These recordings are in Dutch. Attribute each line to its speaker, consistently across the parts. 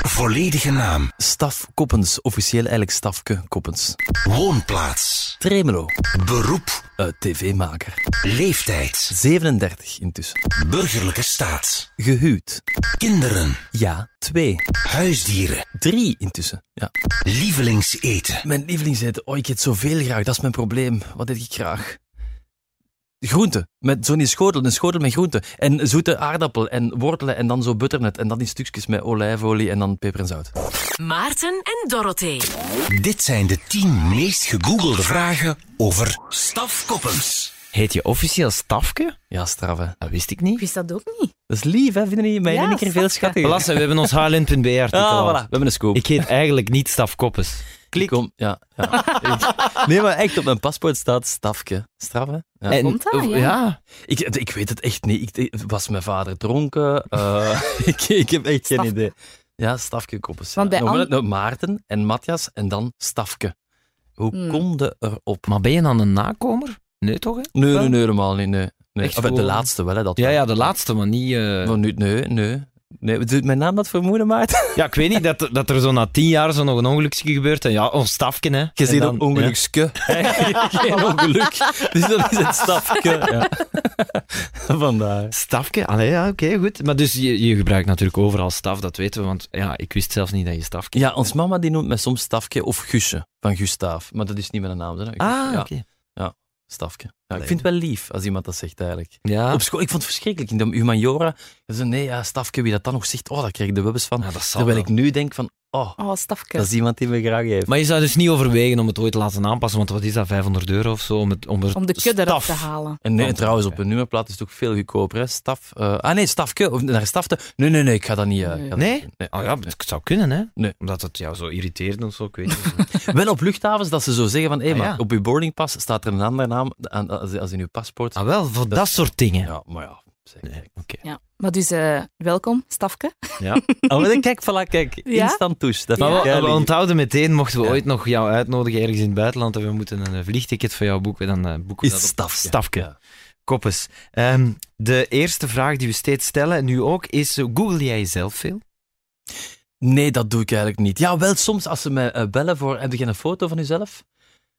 Speaker 1: volledige naam,
Speaker 2: Staf Koppens, officieel eigenlijk Stafke Koppens.
Speaker 1: woonplaats,
Speaker 2: Tremelo,
Speaker 1: beroep,
Speaker 2: eh, tv-maker.
Speaker 1: leeftijd,
Speaker 2: 37 intussen.
Speaker 1: burgerlijke staat,
Speaker 2: Gehuwd.
Speaker 1: kinderen,
Speaker 2: Ja, twee.
Speaker 1: huisdieren,
Speaker 2: Drie intussen. Ja.
Speaker 1: lievelingseten,
Speaker 2: Mijn lievelingseten. Oh, ik eet zoveel graag. Dat is mijn probleem. Wat eet ik graag? Groenten. Met zo'n schotel. Een schotel met groenten. En zoete aardappel. En wortelen. En dan zo butternut. En dan in stukjes met olijfolie. En dan peper en zout.
Speaker 3: Maarten en Dorothee.
Speaker 1: Dit zijn de 10 meest gegoogelde vragen over stafkoppens.
Speaker 4: Heet je officieel Stafke?
Speaker 2: Ja, straf, hè.
Speaker 4: Dat wist ik niet.
Speaker 5: wist dat ook niet.
Speaker 2: Dat is lief, hè? Vinden jullie mij
Speaker 5: Ja,
Speaker 2: in één keer veel
Speaker 5: Stafke.
Speaker 2: schattiger?
Speaker 4: Lasse, we hebben ons hln.br-artikel
Speaker 2: Ah,
Speaker 4: al.
Speaker 2: voilà. We hebben een scoop.
Speaker 4: Ik heet eigenlijk niet Staf Koppes.
Speaker 2: Klik. om, ja, ja. Ik- nee, maar echt, op mijn paspoort staat stafje. Straf, hè? Ja.
Speaker 4: En-
Speaker 5: komt dat, ja.
Speaker 2: Ik, ik weet het echt niet. Ik, ik- was mijn vader dronken? Eh, ik, ik heb echt geen
Speaker 5: Stafke.
Speaker 2: idee. Ja, Stafke Koppes.
Speaker 5: Want bij
Speaker 2: Nou,
Speaker 5: An-
Speaker 2: nou, Maarten en Matthias en dan Stafke. Hoe
Speaker 5: Hmm.
Speaker 2: kom je erop?
Speaker 4: Maar ben je dan een nakomer? Nee, toch? Hè?
Speaker 2: Nee, nee, nee, helemaal niet. Nee. Nee.
Speaker 4: Echt
Speaker 2: Ah, wel, de
Speaker 4: gewoon-
Speaker 2: laatste wel, hè. Dat
Speaker 4: Ja,
Speaker 2: wel.
Speaker 4: ja, de laatste, maar niet... eh,
Speaker 2: Maar nu, nee, nee. nee. Doet mijn naam dat vermoeden, Maarten?
Speaker 4: Ja, ik weet niet, dat, dat er zo na tien jaar zo nog een ongelukje gebeurt. En ja, oh, Stafke, hè.
Speaker 2: Je
Speaker 4: En
Speaker 2: ziet
Speaker 4: dan-
Speaker 2: ook ongelukske. Geen ongeluk. Dus dat is het Stafke. Ja. Vandaar.
Speaker 4: ja. Stafke? Allee, ja, oké, goed. Maar dus je, je gebruikt natuurlijk overal staf, dat weten we. Want ja, ik wist zelfs niet dat je Stafke...
Speaker 2: Ja, ons mama die noemt mij soms Stafke of Guusje van Gustaaf. Maar dat is niet mijn naam. Hè?
Speaker 4: Ah,
Speaker 2: ja,
Speaker 4: oké.
Speaker 2: Stafke. Ja, ik vind het wel lief als iemand dat zegt eigenlijk.
Speaker 4: Ja.
Speaker 2: Op school, ik vond het verschrikkelijk. In de humaniora, dat ze, nee, ja, Stafke, wie dat dan nog zegt, oh, daar krijg ik de webbes van.
Speaker 4: Ja, dat zal
Speaker 2: Terwijl
Speaker 4: wel.
Speaker 2: ik nu denk van, oh,
Speaker 5: Oh, stafke.
Speaker 2: dat is iemand die me graag heeft.
Speaker 4: Maar je zou dus niet overwegen om het ooit te laten aanpassen, want wat is dat, 500 euro of zo? Om, het, om, er
Speaker 5: Om de kudde eraf
Speaker 4: staf-
Speaker 5: te halen.
Speaker 2: En nee,
Speaker 4: Want-
Speaker 2: trouwens, op een nummerplaat is het ook veel goedkoper. Hè? Staf, eh, ah nee, Stafke, of naar Stafte. Nee, nee, nee, ik ga dat niet. eh, ik ga dat
Speaker 4: Nee?
Speaker 2: niet doen.
Speaker 4: Oh ja, het zou kunnen, hè?
Speaker 2: Nee.
Speaker 4: Omdat het jou zo irriteert of zo, ik weet niet.
Speaker 2: Wel op luchthavens dat ze zo zeggen van, hé,
Speaker 4: Ah,
Speaker 2: maar
Speaker 4: ja.
Speaker 2: op uw boardingpas staat er een andere naam aan, als, als in uw paspoort.
Speaker 4: ah, wel, voor dat, soort dingen.
Speaker 2: Ja, maar ja. zeg.
Speaker 4: Nee, oké.
Speaker 5: Ja. Maar dus, eh, welkom, stafke.
Speaker 4: Ja.
Speaker 2: Oh, maar dan kijk, voilà, kijk.
Speaker 5: Ja?
Speaker 2: Instant touche. Dat
Speaker 4: Maar
Speaker 2: vind ik
Speaker 4: we, we
Speaker 2: heilig.
Speaker 4: onthouden meteen, mochten we
Speaker 2: Ja.
Speaker 4: ooit nog jou uitnodigen ergens in het buitenland en we moeten een eh, vliegticket voor jou boeken, dan eh, boeken we dat
Speaker 2: Is
Speaker 4: op
Speaker 2: Stafke.
Speaker 4: Stafke.
Speaker 2: Ja.
Speaker 4: Koppes. Ehm, de eerste vraag die we steeds stellen, en nu ook, is eh, google jij jezelf veel?
Speaker 2: Nee, dat doe ik eigenlijk niet. Ja, wel soms als ze mij eh, bellen voor heb je een foto van uzelf?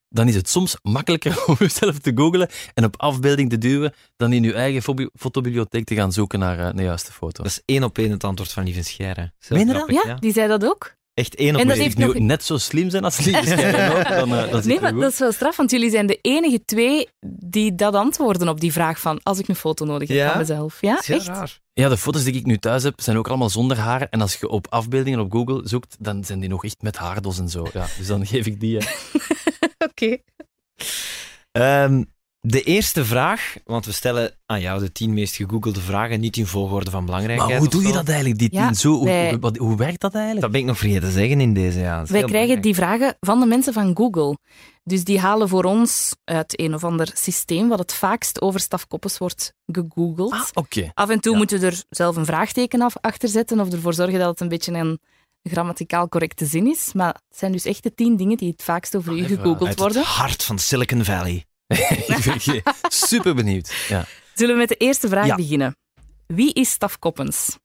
Speaker 2: Dan is het soms makkelijker om uzelf te googlen en op afbeelding te duwen dan in uw eigen fobi- fotobibliotheek te gaan zoeken naar eh, de juiste foto.
Speaker 4: Dat is één op één het antwoord van Lieven Scheire.
Speaker 2: Meen je dat?
Speaker 5: Ja, die zei dat ook.
Speaker 4: Echt één
Speaker 5: En
Speaker 4: op één.
Speaker 5: dat heeft
Speaker 2: Als ik
Speaker 5: nog-
Speaker 2: nu net zo slim zijn als Lies, dan, eh, dan zit
Speaker 5: Nee,
Speaker 2: het
Speaker 5: maar
Speaker 2: goed.
Speaker 5: dat is wel straf, want jullie zijn de enige twee die dat antwoorden op die vraag van als ik een foto nodig heb
Speaker 4: Ja?
Speaker 5: van mezelf. Ja,
Speaker 4: Dat is heel
Speaker 5: echt?
Speaker 4: raar.
Speaker 2: Ja, de foto's die ik nu thuis heb, zijn ook allemaal zonder haar. En als je op afbeeldingen op Google zoekt, dan zijn die nog echt met haardos en zo. Ja, dus dan geef ik die. eh.
Speaker 5: Oké.
Speaker 4: Ehm, de eerste vraag, want we stellen aan jou de tien meest gegoogelde vragen, niet in volgorde van belangrijkheid.
Speaker 2: Maar hoe
Speaker 4: of
Speaker 2: doe je
Speaker 4: zo.
Speaker 2: dat eigenlijk, die
Speaker 5: Ja,
Speaker 2: tien? Zo, hoe,
Speaker 5: wij-
Speaker 2: wat- hoe werkt dat eigenlijk?
Speaker 4: Dat ben ik nog vergeten te zeggen in deze. Ja. Dat is
Speaker 5: Wij
Speaker 4: heel
Speaker 5: krijgen
Speaker 4: belangrijk.
Speaker 5: die vragen van de mensen van Google. Dus die halen voor ons uit een of ander systeem wat het vaakst over stafkoppes wordt gegoogeld.
Speaker 2: Ah, oké.
Speaker 5: Af en toe
Speaker 2: Ja.
Speaker 5: moeten we er zelf een vraagteken af- achter zetten of ervoor zorgen dat het een beetje een grammaticaal correcte zin is. Maar het zijn dus echt de tien dingen die het vaakst over
Speaker 2: Ah,
Speaker 5: u
Speaker 2: even
Speaker 5: gegoogeld
Speaker 4: Uit
Speaker 5: worden.
Speaker 4: het hart van Silicon Valley.
Speaker 2: ik ben super benieuwd. Ja.
Speaker 5: Zullen we met de eerste vraag
Speaker 2: Ja.
Speaker 5: beginnen? Wie is Staf Koppens?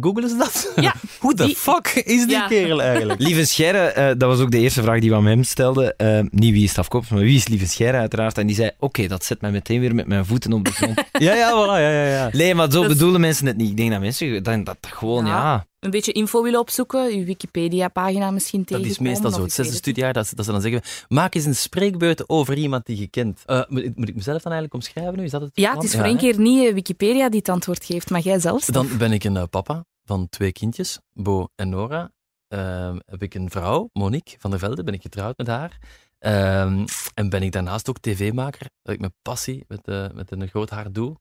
Speaker 2: Googelen ze dat?
Speaker 5: Ja.
Speaker 2: Hoe de
Speaker 5: Die-
Speaker 2: fuck is die
Speaker 5: Ja.
Speaker 2: kerel eigenlijk?
Speaker 4: Lieve Scherre, eh, dat was ook de eerste vraag die we aan hem stelden. Eh, niet wie is Staf Kops, maar wie is Lieve Scherre uiteraard. En die zei, oké, dat zet mij meteen weer met mijn voeten op de grond.
Speaker 2: ja, ja, voilà, ja, ja, ja.
Speaker 4: nee, maar zo
Speaker 5: Dat is-
Speaker 4: bedoelen mensen het niet. Ik denk dat mensen dat, dat gewoon,
Speaker 5: Ja.
Speaker 4: ja...
Speaker 5: Een beetje info willen opzoeken, uw Wikipedia-pagina misschien
Speaker 2: Dat
Speaker 5: tegenkomen.
Speaker 2: is meestal
Speaker 5: of
Speaker 2: zo.
Speaker 5: ik
Speaker 2: Het zesde
Speaker 5: weet het
Speaker 2: studiejaar dat, ze- dat ze dan zeggen: maak eens een spreekbeurt over iemand die je kent. Eh, moet, ik- moet ik mezelf dan eigenlijk omschrijven nu? Is dat het
Speaker 5: niet. Ja,
Speaker 2: plan?
Speaker 5: het is voor één
Speaker 2: hè?
Speaker 5: keer niet eh, Wikipedia die het antwoord geeft, maar jij zelfs.
Speaker 2: Dan ben ik een eh, papa van twee kindjes, Bo en Nora. Ehm, heb ik een vrouw, Monique van der Velde, ben ik getrouwd met haar. Ehm, en ben ik daarnaast ook tv-maker, dat ik mijn passie met, eh, met een groot hart doe.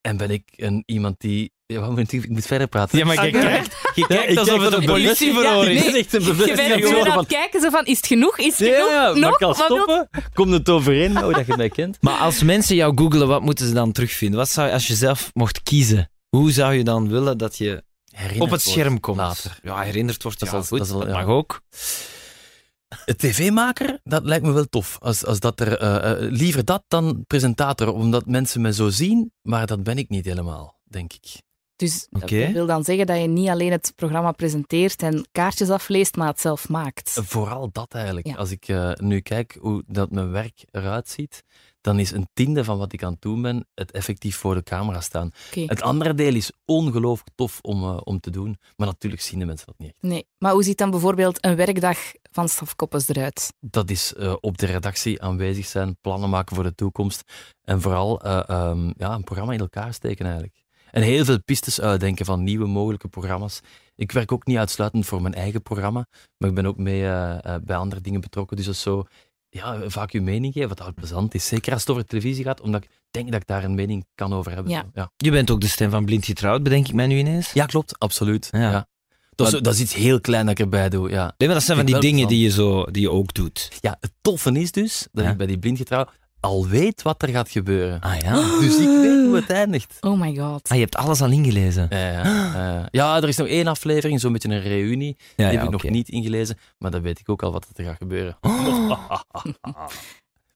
Speaker 2: En ben ik een, iemand die... Ja, wat moet ik, ik moet verder praten. Ah,
Speaker 4: Ja, maar je kijkt, je kijkt
Speaker 2: ik
Speaker 4: alsof
Speaker 2: kijk
Speaker 4: het
Speaker 2: dat
Speaker 4: een
Speaker 2: het bevestiging-
Speaker 4: politieverhoor
Speaker 5: Ja,
Speaker 4: is.
Speaker 5: nee.
Speaker 2: is echt een
Speaker 5: Je bent
Speaker 2: bevestiging
Speaker 5: nu
Speaker 2: geworden
Speaker 5: aan
Speaker 2: van...
Speaker 5: het kijken, zo van, is het genoeg? Is het genoeg?
Speaker 2: Ja, maar
Speaker 5: Nog?
Speaker 2: ik kan
Speaker 5: Wat wil-
Speaker 2: stoppen. Komt het overeen, nou, dat je mij kent?
Speaker 4: Maar als mensen jou googelen, wat moeten ze dan terugvinden? Wat zou, als je zelf mocht kiezen, hoe zou je dan willen dat je
Speaker 2: Herinnerd
Speaker 4: op het
Speaker 2: wordt
Speaker 4: scherm komt?
Speaker 2: Later.
Speaker 4: Ja, herinnerd wordt,
Speaker 2: Dat
Speaker 4: dat
Speaker 2: is
Speaker 4: ja,
Speaker 2: al-
Speaker 4: goed,
Speaker 2: dat
Speaker 4: dat,
Speaker 2: is al- ja.
Speaker 4: mag ook.
Speaker 2: Het tv-maker, dat lijkt me wel tof. Als, als dat er, eh, eh, liever dat dan presentator, omdat mensen me zo zien, maar dat ben ik niet helemaal, denk ik.
Speaker 5: Dus
Speaker 2: Oké.
Speaker 5: dat wil dan zeggen dat je niet alleen het programma presenteert en kaartjes afleest, maar het zelf maakt.
Speaker 2: Vooral dat eigenlijk.
Speaker 5: Ja.
Speaker 2: Als ik eh, nu kijk hoe dat mijn werk eruit ziet, dan is een tiende van wat ik aan het doen ben het effectief voor de camera staan.
Speaker 5: Oké.
Speaker 2: Het andere deel is ongelooflijk tof om, eh, om te doen, maar natuurlijk zien de mensen dat niet echt.
Speaker 5: Nee. Maar hoe ziet dan bijvoorbeeld een werkdag van Stafkoppes eruit?
Speaker 2: Dat is eh, op de redactie aanwezig zijn, plannen maken voor de toekomst en vooral eh, ehm, ja, een programma in elkaar steken eigenlijk. En heel veel pistes uitdenken van nieuwe mogelijke programma's. Ik werk ook niet uitsluitend voor mijn eigen programma, maar ik ben ook mee eh, eh, bij andere dingen betrokken. Dus dat is zo, ja, vaak uw mening geven, wat altijd plezant is. Zeker als het over televisie gaat, omdat ik denk dat ik daar een mening kan over hebben.
Speaker 5: Ja.
Speaker 2: ja.
Speaker 4: Je bent ook de stem van Blind Getrouwd, bedenk ik mij nu ineens.
Speaker 2: Ja, klopt, absoluut.
Speaker 4: Ja.
Speaker 2: Ja. Dat, is,
Speaker 4: Maar-
Speaker 2: dat is iets heel klein dat ik erbij doe. Ja.
Speaker 4: Nee, maar dat zijn van
Speaker 2: Ik ben
Speaker 4: die dingen
Speaker 2: van.
Speaker 4: die je, zo, die je ook doet.
Speaker 2: ja, het toffe is dus dat
Speaker 4: Ja.
Speaker 2: ik bij die blindgetrouw al weet wat er gaat gebeuren.
Speaker 4: Ah ja.
Speaker 2: Dus ik weet hoe het eindigt.
Speaker 5: Oh my god.
Speaker 4: Ah, je hebt alles al ingelezen.
Speaker 2: Ja, ja, ja. ja, er is nog één aflevering, zo'n beetje een reunie. Die
Speaker 4: Ja,
Speaker 2: heb
Speaker 4: ja,
Speaker 2: ik nog
Speaker 4: oké.
Speaker 2: niet ingelezen, maar dan weet ik ook al wat er gaat gebeuren. Wil
Speaker 4: Ah,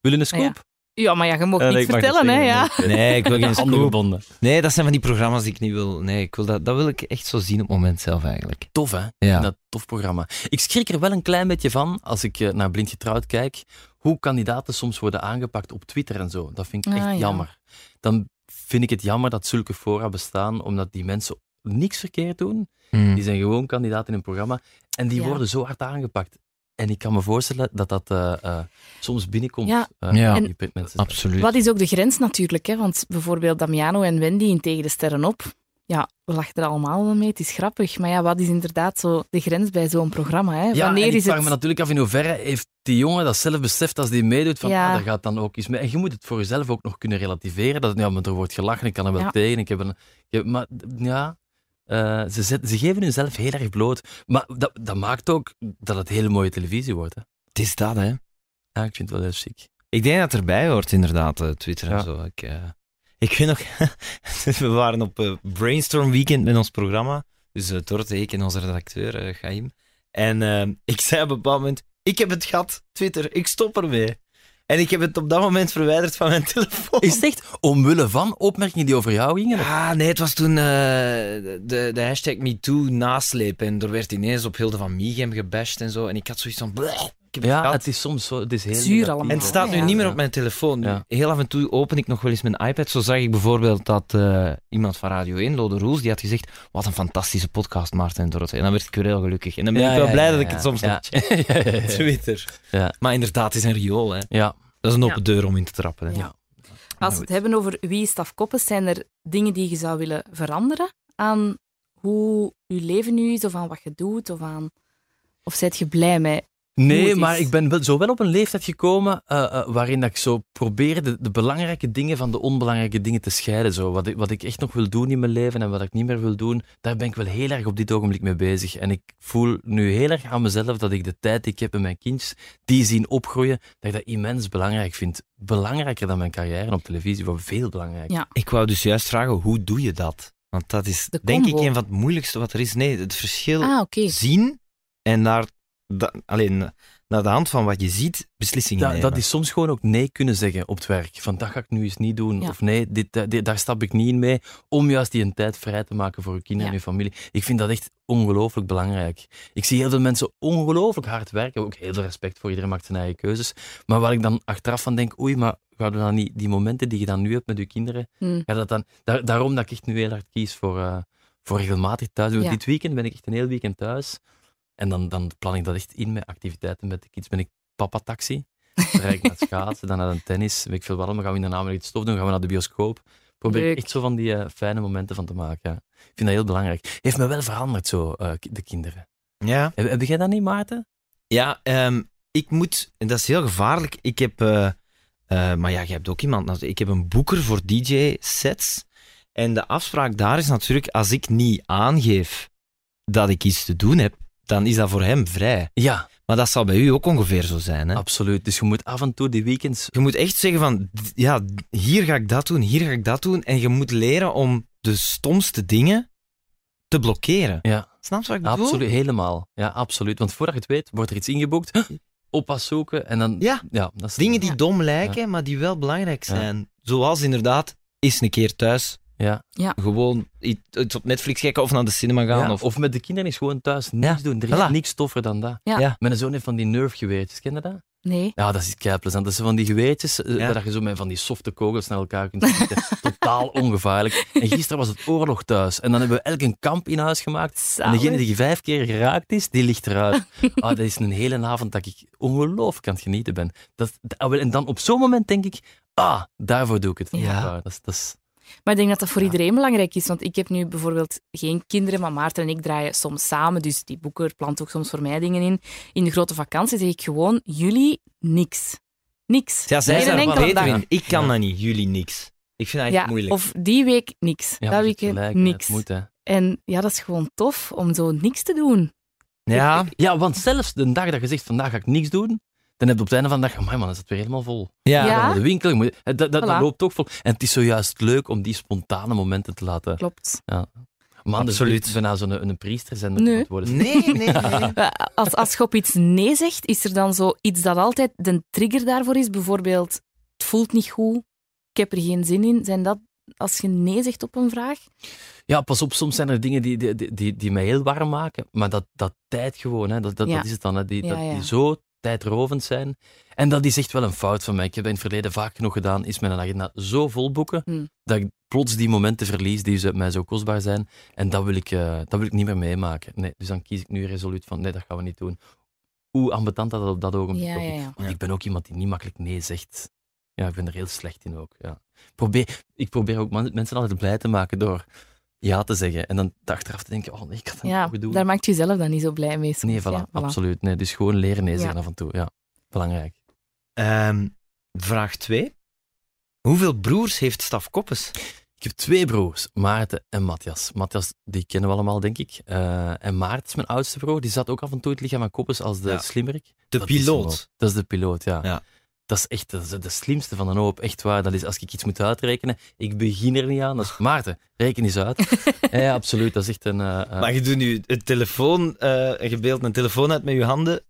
Speaker 2: je een
Speaker 5: Ja,
Speaker 2: scoop?
Speaker 5: Ja, maar ja, je mag
Speaker 2: Eh, nee,
Speaker 5: niet
Speaker 2: ik mag
Speaker 5: vertellen,
Speaker 2: dat
Speaker 5: hè?
Speaker 2: zeggen,
Speaker 5: Ja.
Speaker 2: maar oké.
Speaker 4: Nee, ik wil geen
Speaker 2: Handen
Speaker 4: scoop.
Speaker 2: gebonden.
Speaker 4: Nee, dat zijn van die programma's die ik niet wil. Nee, ik wil dat, dat wil ik echt zo zien op het moment zelf eigenlijk.
Speaker 2: Tof, hè?
Speaker 4: Ja.
Speaker 2: Dat tof programma. Ik schrik er wel een klein beetje van als ik eh, naar Blind Getrouwd kijk, hoe kandidaten soms worden aangepakt op Twitter en zo. Dat vind ik
Speaker 5: Ah,
Speaker 2: echt
Speaker 5: ja.
Speaker 2: jammer. Dan vind ik het jammer dat zulke fora bestaan, omdat die mensen niks verkeerd doen.
Speaker 4: Hmm.
Speaker 2: Die zijn gewoon kandidaat in een programma en die
Speaker 5: Hm. Ja.
Speaker 2: worden zo hard aangepakt. En ik kan me voorstellen dat dat eh, eh, soms binnenkomt.
Speaker 5: Ja.
Speaker 2: eh,
Speaker 4: Ja.
Speaker 2: op die mensen.
Speaker 4: Absoluut.
Speaker 5: Wat is ook de grens natuurlijk, hè? Want bijvoorbeeld Damiano en Wendy in Tegen de Sterren op. Ja, we lachen er allemaal wel mee, het is grappig. Maar ja, wat is inderdaad zo de grens bij zo'n programma? Hè?
Speaker 2: Ja,
Speaker 5: Wanneer
Speaker 2: en ik
Speaker 5: is
Speaker 2: vraag
Speaker 5: het...
Speaker 2: me natuurlijk af in hoeverre heeft die jongen dat zelf beseft als die meedoet, van
Speaker 5: Ja.
Speaker 2: ah, dat gaat dan ook iets mee. En je moet het voor jezelf ook nog kunnen relativeren, dat het, ja, maar er wordt gelachen, ik kan er wel
Speaker 5: Ja.
Speaker 2: tegen, ik heb een... ik heb- maar ja, eh, ze, zet- ze geven hunzelf heel erg bloot. Maar dat, dat maakt ook dat het hele mooie televisie wordt. Hè.
Speaker 4: Het is dat, hè?
Speaker 2: Ja, ik vind het wel heel chic.
Speaker 4: Ik denk dat het erbij hoort, inderdaad, eh, Twitter en
Speaker 2: Ja.
Speaker 4: zo. Ik, eh, ik weet nog, we waren op eh, Brainstorm Weekend met ons programma. Dus eh Dorte, ik en onze redacteur, eh Chaim. En eh, ik zei op een bepaald moment, ik heb het gehad, Twitter, ik stop ermee. En ik heb het op dat moment verwijderd van mijn telefoon.
Speaker 2: Is het echt omwille van opmerkingen die over jou gingen?
Speaker 4: Ah, nee, het was toen eh, de, de hashtag MeToo nasleep. En er werd ineens op Hilde van Miegem gebashed en zo. En ik had zoiets van... "Bleh, ik heb het
Speaker 2: Ja,
Speaker 4: gehad."
Speaker 2: het is soms zo... Het is heel
Speaker 5: Zuur
Speaker 2: negatief,
Speaker 5: allemaal.
Speaker 2: hè.
Speaker 4: En het staat nu
Speaker 5: Ja.
Speaker 4: niet meer op mijn telefoon.
Speaker 2: Ja.
Speaker 4: Heel af en toe open ik nog wel eens mijn iPad. Zo zag ik bijvoorbeeld dat eh, iemand van Radio 1, Lode Roels, die had gezegd: Wat een fantastische podcast, Maarten en Dorothee. En dan werd ik weer heel gelukkig. En dan ben
Speaker 2: Ja,
Speaker 4: ik wel
Speaker 2: ja,
Speaker 4: blij
Speaker 2: ja,
Speaker 4: dat ik
Speaker 2: ja.
Speaker 4: het soms
Speaker 2: Ja.
Speaker 4: nog check
Speaker 2: Ja, ja,
Speaker 4: op
Speaker 2: ja.
Speaker 4: Twitter.
Speaker 2: Ja.
Speaker 4: Maar inderdaad, het is een riool. Hè.
Speaker 2: Ja.
Speaker 4: Dat is een open deur om in te trappen. Hè. Nou,
Speaker 5: Ja. Als we het hebben over wie is stafkoppes, zijn er dingen die je zou willen veranderen aan hoe je leven nu is, of aan wat je doet, of aan... Of zijt je blij mee? hoe
Speaker 2: Nee,
Speaker 5: het
Speaker 2: maar
Speaker 5: is.
Speaker 2: ik ben wel, zo wel op een leeftijd gekomen eh, eh, waarin dat ik zo probeer de, de belangrijke dingen van de onbelangrijke dingen te scheiden. Zo. Wat, ik, wat ik echt nog wil doen in mijn leven en wat ik niet meer wil doen, daar ben ik wel heel erg op dit ogenblik mee bezig. En ik voel nu heel erg aan mezelf dat ik de tijd die ik heb met mijn kindjes, die zien opgroeien, dat ik dat immens belangrijk vind. Belangrijker dan mijn carrière op televisie, wat veel belangrijker.
Speaker 5: Ja.
Speaker 4: Ik wou dus juist vragen: hoe doe je dat? Want dat is
Speaker 5: De
Speaker 4: denk ik
Speaker 5: combo.
Speaker 4: een van het moeilijkste wat er is. Nee, het verschil
Speaker 5: Ah, oké.
Speaker 4: zien en naar, da- alleen naar de hand van wat je ziet beslissingen
Speaker 2: Da-
Speaker 4: nemen.
Speaker 2: dat is soms gewoon ook nee kunnen zeggen op het werk. Van dat ga ik nu eens niet doen.
Speaker 5: Ja.
Speaker 2: Of nee, dit, eh, dit- daar stap ik niet in mee. Om juist die een tijd vrij te maken voor je kinderen
Speaker 5: Ja.
Speaker 2: en je familie. Ik vind dat echt ongelooflijk belangrijk. Ik zie heel veel mensen ongelooflijk hard werken. Ook heel veel respect voor iedereen maakt zijn eigen keuzes. Maar waar ik dan achteraf van denk, oei, maar gaan we dan niet die momenten die je dan nu hebt met je kinderen.
Speaker 5: Hm.
Speaker 2: Ga dat dan, daar- daarom dat ik echt nu heel hard kies voor, eh, voor regelmatig thuis. doen.
Speaker 5: Ja.
Speaker 2: Dit weekend ben ik echt een heel weekend thuis. En dan, dan plan ik dat echt in met activiteiten met de kids. Ben ik papa-taxi. Dan rijd ik naar het schaatsen, dan naar de tennis. Weet ik veel wat, dan gaan we in de namiddag iets stof doen, gaan we naar de bioscoop. Probeer ik
Speaker 5: Leuk.
Speaker 2: echt zo van die eh, fijne momenten van te maken. ja. Ik vind dat heel belangrijk. Heeft me wel veranderd zo, eh, ki- de kinderen.
Speaker 4: Ja.
Speaker 2: Heb, heb jij dat niet, Maarten?
Speaker 4: Ja, ehm, ik moet, en dat is heel gevaarlijk. Ik heb, eh, eh, maar ja, je hebt ook iemand. nou, Ik heb een boeker voor DJ-sets. En de afspraak daar is natuurlijk: als ik niet aangeef dat ik iets te doen heb, dan is dat voor hem vrij.
Speaker 2: Ja,
Speaker 4: Maar dat zal bij u ook ongeveer zo zijn. Hè?
Speaker 2: absoluut. Dus je moet af en toe die weekends...
Speaker 4: Je moet echt zeggen: van d- ja, d- hier ga ik dat doen, hier ga ik dat doen. En je moet leren om de stomste dingen te blokkeren.
Speaker 2: Ja,
Speaker 4: Snap je wat ik bedoel?
Speaker 2: absoluut, helemaal. Ja, absoluut. Want voordat je het weet, wordt er iets ingeboekt. Oppas zoeken en dan...
Speaker 4: Ja.
Speaker 2: ja dat is,
Speaker 4: Dingen die
Speaker 5: Ja.
Speaker 4: dom lijken, maar die wel belangrijk zijn. Zoals inderdaad, eens een keer thuis
Speaker 2: Ja.
Speaker 4: Gewoon iets iets op Netflix kijken of naar de cinema gaan.
Speaker 2: Ja,
Speaker 4: of,
Speaker 2: of... met de kinderen is gewoon thuis niks doen. Er is
Speaker 4: voilà.
Speaker 2: niks toffer dan dat.
Speaker 5: Ja.
Speaker 4: Ja.
Speaker 2: Mijn zoon heeft van die nerfgeweertjes, ken je dat?
Speaker 5: Nee.
Speaker 2: Ja, dat is keiplezant. Dat zijn van die geweertjes, eh,
Speaker 4: Ja.
Speaker 2: waar je zo met van die softe kogels naar elkaar kunt schieten. Totaal ongevaarlijk. En gisteren was het oorlog thuis. En dan hebben we elk een kamp in huis gemaakt. En degene die vijf keer geraakt is, die ligt eruit. Ah, dat is een hele avond dat ik ongelooflijk aan het genieten ben. Dat, dat- ah, wel, en dan op zo'n moment denk ik, ah, daarvoor doe ik het.
Speaker 5: Ja.
Speaker 2: Waar, Dat is, dat is,
Speaker 5: Maar ik denk dat dat voor iedereen belangrijk is. Want ik heb nu bijvoorbeeld geen kinderen, maar Maarten en ik draaien soms samen. Dus die boeker plant ook soms voor mij dingen in. In de grote vakantie zeg ik gewoon, jullie niks. Niks.
Speaker 4: Ja, zij
Speaker 5: Geen
Speaker 4: zijn er
Speaker 5: enkele
Speaker 4: beter
Speaker 5: dag.
Speaker 4: in. Ik kan
Speaker 2: Ja.
Speaker 4: dat niet, jullie niks. Ik vind dat echt
Speaker 5: Ja,
Speaker 4: moeilijk.
Speaker 5: of die week niks.
Speaker 2: ja, maar
Speaker 5: dat
Speaker 2: je hebt gelijk,
Speaker 5: weekend
Speaker 2: hè. Het
Speaker 5: niks.
Speaker 2: Moet, hè.
Speaker 5: En ja, dat is gewoon tof om zo niks te doen.
Speaker 4: ja,
Speaker 2: Ja, want zelfs de dag dat je zegt, vandaag ga ik niks doen, dan heb je op het einde van de dag, "Amai, man, is het weer helemaal vol.
Speaker 4: ja.
Speaker 5: Ja.
Speaker 2: Ja, de winkel. je moet- Dat, dat, dat
Speaker 5: Voilà.
Speaker 2: loopt toch vol. En het is zojuist leuk om die spontane momenten te laten.
Speaker 5: Klopt.
Speaker 2: Man, dus
Speaker 4: Absoluut.
Speaker 2: ik ben nou zo'n een, priester zijn
Speaker 5: Nee.
Speaker 2: worden.
Speaker 4: Nee, nee, nee.
Speaker 5: Eh, Als, als je op iets nee zegt, is er dan zo iets dat altijd de trigger daarvoor is? Bijvoorbeeld, het voelt niet goed, ik heb er geen zin in. Zijn dat als je nee zegt op een vraag?
Speaker 2: Ja, pas op, soms zijn er dingen die, die, die- die, die mij heel warm maken. Maar dat, dat tijd gewoon, hè, dat, dat,
Speaker 5: Ja.
Speaker 2: dat is het dan. Hè, die,
Speaker 5: Ja,
Speaker 2: dat,
Speaker 5: ja.
Speaker 2: die zo tijdrovend zijn. En dat is echt wel een fout van mij. Ik heb dat in het verleden vaak genoeg gedaan, is mijn agenda zo vol boeken,
Speaker 5: Hmm.
Speaker 2: dat ik plots die momenten verlies die ze mij zo kostbaar zijn. En dat wil ik, eh, dat wil ik niet meer meemaken. Nee, dus dan kies ik nu resoluut van, nee, dat gaan we niet doen. Hoe ambetant dat op dat ogenblik
Speaker 5: Ja,
Speaker 2: ook is.
Speaker 5: ja, ja.
Speaker 2: Want ik ben ook iemand die niet makkelijk nee zegt. Ja, ik ben er heel slecht in ook. Ja. Ik Probeer, ik probeer ook man- mensen altijd blij te maken door ja te zeggen. En dan achteraf te denken, oh nee, ik had dat niet
Speaker 5: Ja,
Speaker 2: mogen doen.
Speaker 5: daar maakt je zelf dan niet zo blij mee. soms,
Speaker 2: Nee, voilà,
Speaker 5: ja,
Speaker 2: absoluut. Nee, dus gewoon leren nee
Speaker 5: Ja.
Speaker 2: zeggen af en toe. Ja, belangrijk.
Speaker 4: Ehm, vraag 2. Hoeveel broers heeft Staf Koppes?
Speaker 2: Ik heb twee broers, Maarten en Matthias. Matthias, die kennen we allemaal, denk ik. Eh, en Maarten is mijn oudste broer. Die zat ook af en toe in het lichaam van Koppes als de
Speaker 4: Ja.
Speaker 2: slimmerik.
Speaker 4: De
Speaker 2: Dat is
Speaker 4: piloot.
Speaker 2: hem ook. dat is de piloot, ja.
Speaker 4: Ja.
Speaker 2: Dat is echt dat is de slimste van een hoop. Echt waar. Dat is, als ik iets moet uitrekenen, ik begin er niet aan. Dat is, Maarten, reken eens uit. ja, ja, absoluut. Dat is echt een... eh, eh,
Speaker 4: Maar je doet nu het telefoon, eh, en je beeldt een telefoon uit met je handen.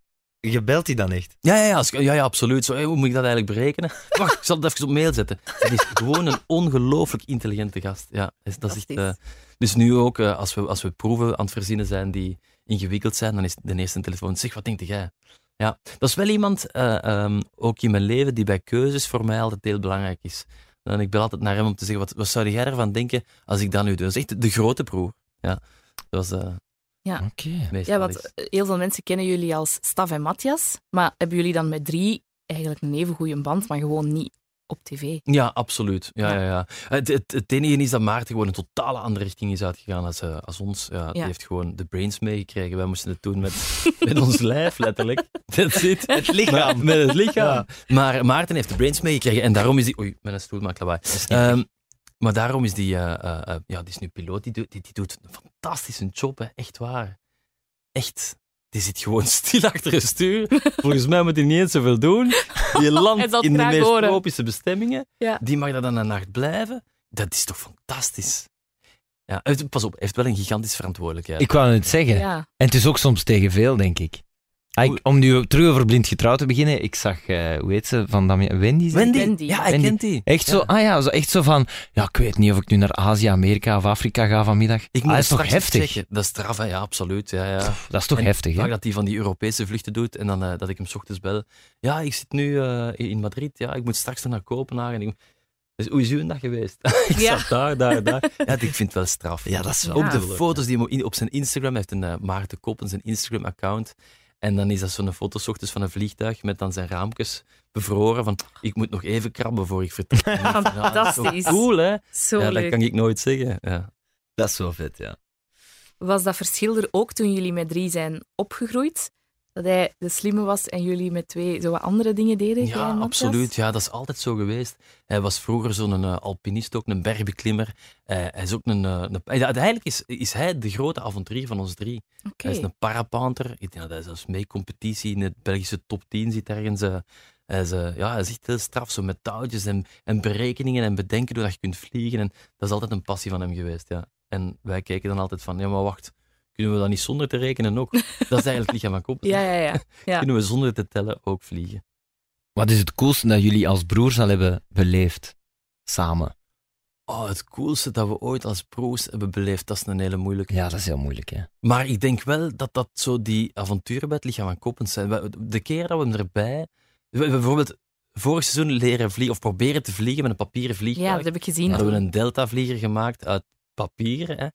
Speaker 4: Je belt die dan echt.
Speaker 2: ja, ja, ja, als ik- ja, ja, absoluut. Zo, hé, hoe moet ik dat eigenlijk berekenen? Wacht, ik zal het even op mail zetten. Het is gewoon een ongelooflijk intelligente gast. Ja, dat is, dat is echt, eh, dus nu ook, eh, als, we, als we proeven aan het verzinnen zijn die ingewikkeld zijn, dan is de eerste telefoon, zeg, wat denk jij? Ja, dat is wel iemand, eh, ehm, ook in mijn leven, die bij keuzes voor mij altijd heel belangrijk is. En ik bel altijd naar hem om te zeggen, wat, wat zou jij ervan denken als ik dat nu doe? Dat is echt de grote proef. Ja, dat is eh
Speaker 4: Oké.
Speaker 2: meestal
Speaker 5: Ja, want eh,
Speaker 2: iets.
Speaker 5: heel veel mensen kennen jullie als Staf en Matthias. Maar hebben jullie dan met drie eigenlijk een even goede band, maar gewoon niet op tv?
Speaker 2: Ja, absoluut. Ja,
Speaker 5: Ja.
Speaker 2: ja. Ja, Het, het, het enige is dat Maarten gewoon een totale andere richting is uitgegaan als, eh, als ons. Ja, Die
Speaker 5: Ja.
Speaker 2: heeft gewoon de brains meegekregen. Wij moesten het doen met, met ons lijf, letterlijk. That's it. Het lichaam. Met het lichaam. Maar Maarten heeft de brains meegekregen en daarom is die... Oei, mijn stoel maakt lawaai. Ehm, maar daarom is die... eh, eh, eh, ja, die is nu piloot. Die, doet- die, die doet een fantastische job, hè. Echt waar. Echt. Die zit gewoon stil achter het stuur. Volgens mij moet hij niet eens zoveel doen. Die
Speaker 5: Hij
Speaker 2: landt
Speaker 5: zal het
Speaker 2: in de
Speaker 5: graag
Speaker 2: meest
Speaker 5: horen.
Speaker 2: tropische bestemmingen.
Speaker 5: Ja.
Speaker 2: Die mag daar dan een nacht blijven. Dat is toch fantastisch? Ja, hij heeft- pas op, hij heeft wel een gigantische verantwoordelijkheid.
Speaker 4: Ik wou het zeggen.
Speaker 5: Ja.
Speaker 4: En het is ook soms tegen veel, denk ik. Ah, ik-
Speaker 2: Hoe-
Speaker 4: om nu terug over blind getrouwd te beginnen, ik zag, eh, hoe heet ze, van Damien, Wendy? zei-
Speaker 2: Wendy.
Speaker 5: Wendy.
Speaker 2: Ja, hij
Speaker 4: Wendy.
Speaker 2: kent die.
Speaker 4: Echt zo,
Speaker 2: Ja.
Speaker 4: ah ja, zo, echt zo van, ja, ik weet niet of ik nu naar Azië, Amerika of Afrika ga vanmiddag.
Speaker 2: Ik moet
Speaker 4: ah, dat
Speaker 2: het
Speaker 4: is toch
Speaker 2: straks even
Speaker 4: heftig?
Speaker 2: checken. Dat is straf, hè? ja, absoluut. Ja, ja.
Speaker 4: Pff, dat is toch
Speaker 2: En Ah,
Speaker 4: heftig, hè?
Speaker 2: Vaak dat hij van die Europese vluchten doet en dan eh, dat ik hem 's ochtends bel. Ja, ik zit nu eh, in Madrid. Ja, ik moet straks nog naar Kopenhagen. Ik- Dus hoe is uw dag geweest? ik
Speaker 5: Ja.
Speaker 2: zat daar, daar, daar. Ja, ik vind het wel straf.
Speaker 4: Ja, dat is wel
Speaker 2: Ook de
Speaker 4: duidelijk.
Speaker 2: foto's die hem in- op zijn Instagram hij heeft, een eh, Maarten Koppen, zijn Instagram-account. En dan is dat zo'n foto 's ochtends van een vliegtuig met dan zijn raampjes bevroren. Van, ik moet nog even krabben voor ik vertrek. Ja, dat is toch
Speaker 5: Fantastisch.
Speaker 2: cool, hè?
Speaker 5: Zo
Speaker 2: ja, dat
Speaker 5: leuk.
Speaker 2: kan ik nooit zeggen. Ja.
Speaker 4: Dat is wel vet, ja.
Speaker 5: Was dat verschil er ook toen jullie met drie zijn opgegroeid? Dat hij de slimme was en jullie met twee zo wat andere dingen deden? jij en
Speaker 2: Ja,
Speaker 5: Matthias?
Speaker 2: absoluut. Ja, dat is altijd zo geweest. Hij was vroeger zo'n eh, alpinist, ook een bergbeklimmer. Eh, hij is ook een... eh, een- hij- uiteindelijk is, is hij de grote avonturier van ons drie.
Speaker 5: Oké.
Speaker 2: Hij is een parapanter. Ik denk dat hij zelfs mee competitie in het Belgische top 10 zit ergens. eh. hij, is, eh, ja, hij is echt heel straf, zo met touwtjes en, en berekeningen en bedenken doordat je kunt vliegen. En dat is altijd een passie van hem geweest, ja. En wij kijken dan altijd van, ja, maar wacht, kunnen we dat niet zonder te rekenen ook? Dat is eigenlijk het lichaam van kop.
Speaker 5: Ja, ja, ja. ja.
Speaker 2: Kunnen we zonder te tellen ook vliegen?
Speaker 4: Wat is het coolste dat jullie als broers al hebben beleefd? Samen.
Speaker 2: oh, het coolste dat we ooit als pro's hebben beleefd, dat is een hele moeilijke.
Speaker 6: Ja, dat is heel moeilijk, hè.
Speaker 2: Maar ik denk wel dat dat zo die avonturen bij het lichaam van Koppens zijn. We- De keer dat we hem erbij... We hebben bijvoorbeeld vorig seizoen leren vliegen, of proberen te vliegen met een papieren vliegtuig.
Speaker 5: Ja, dat heb ik gezien.
Speaker 2: Hadden we een deltavlieger gemaakt uit papier. Hè.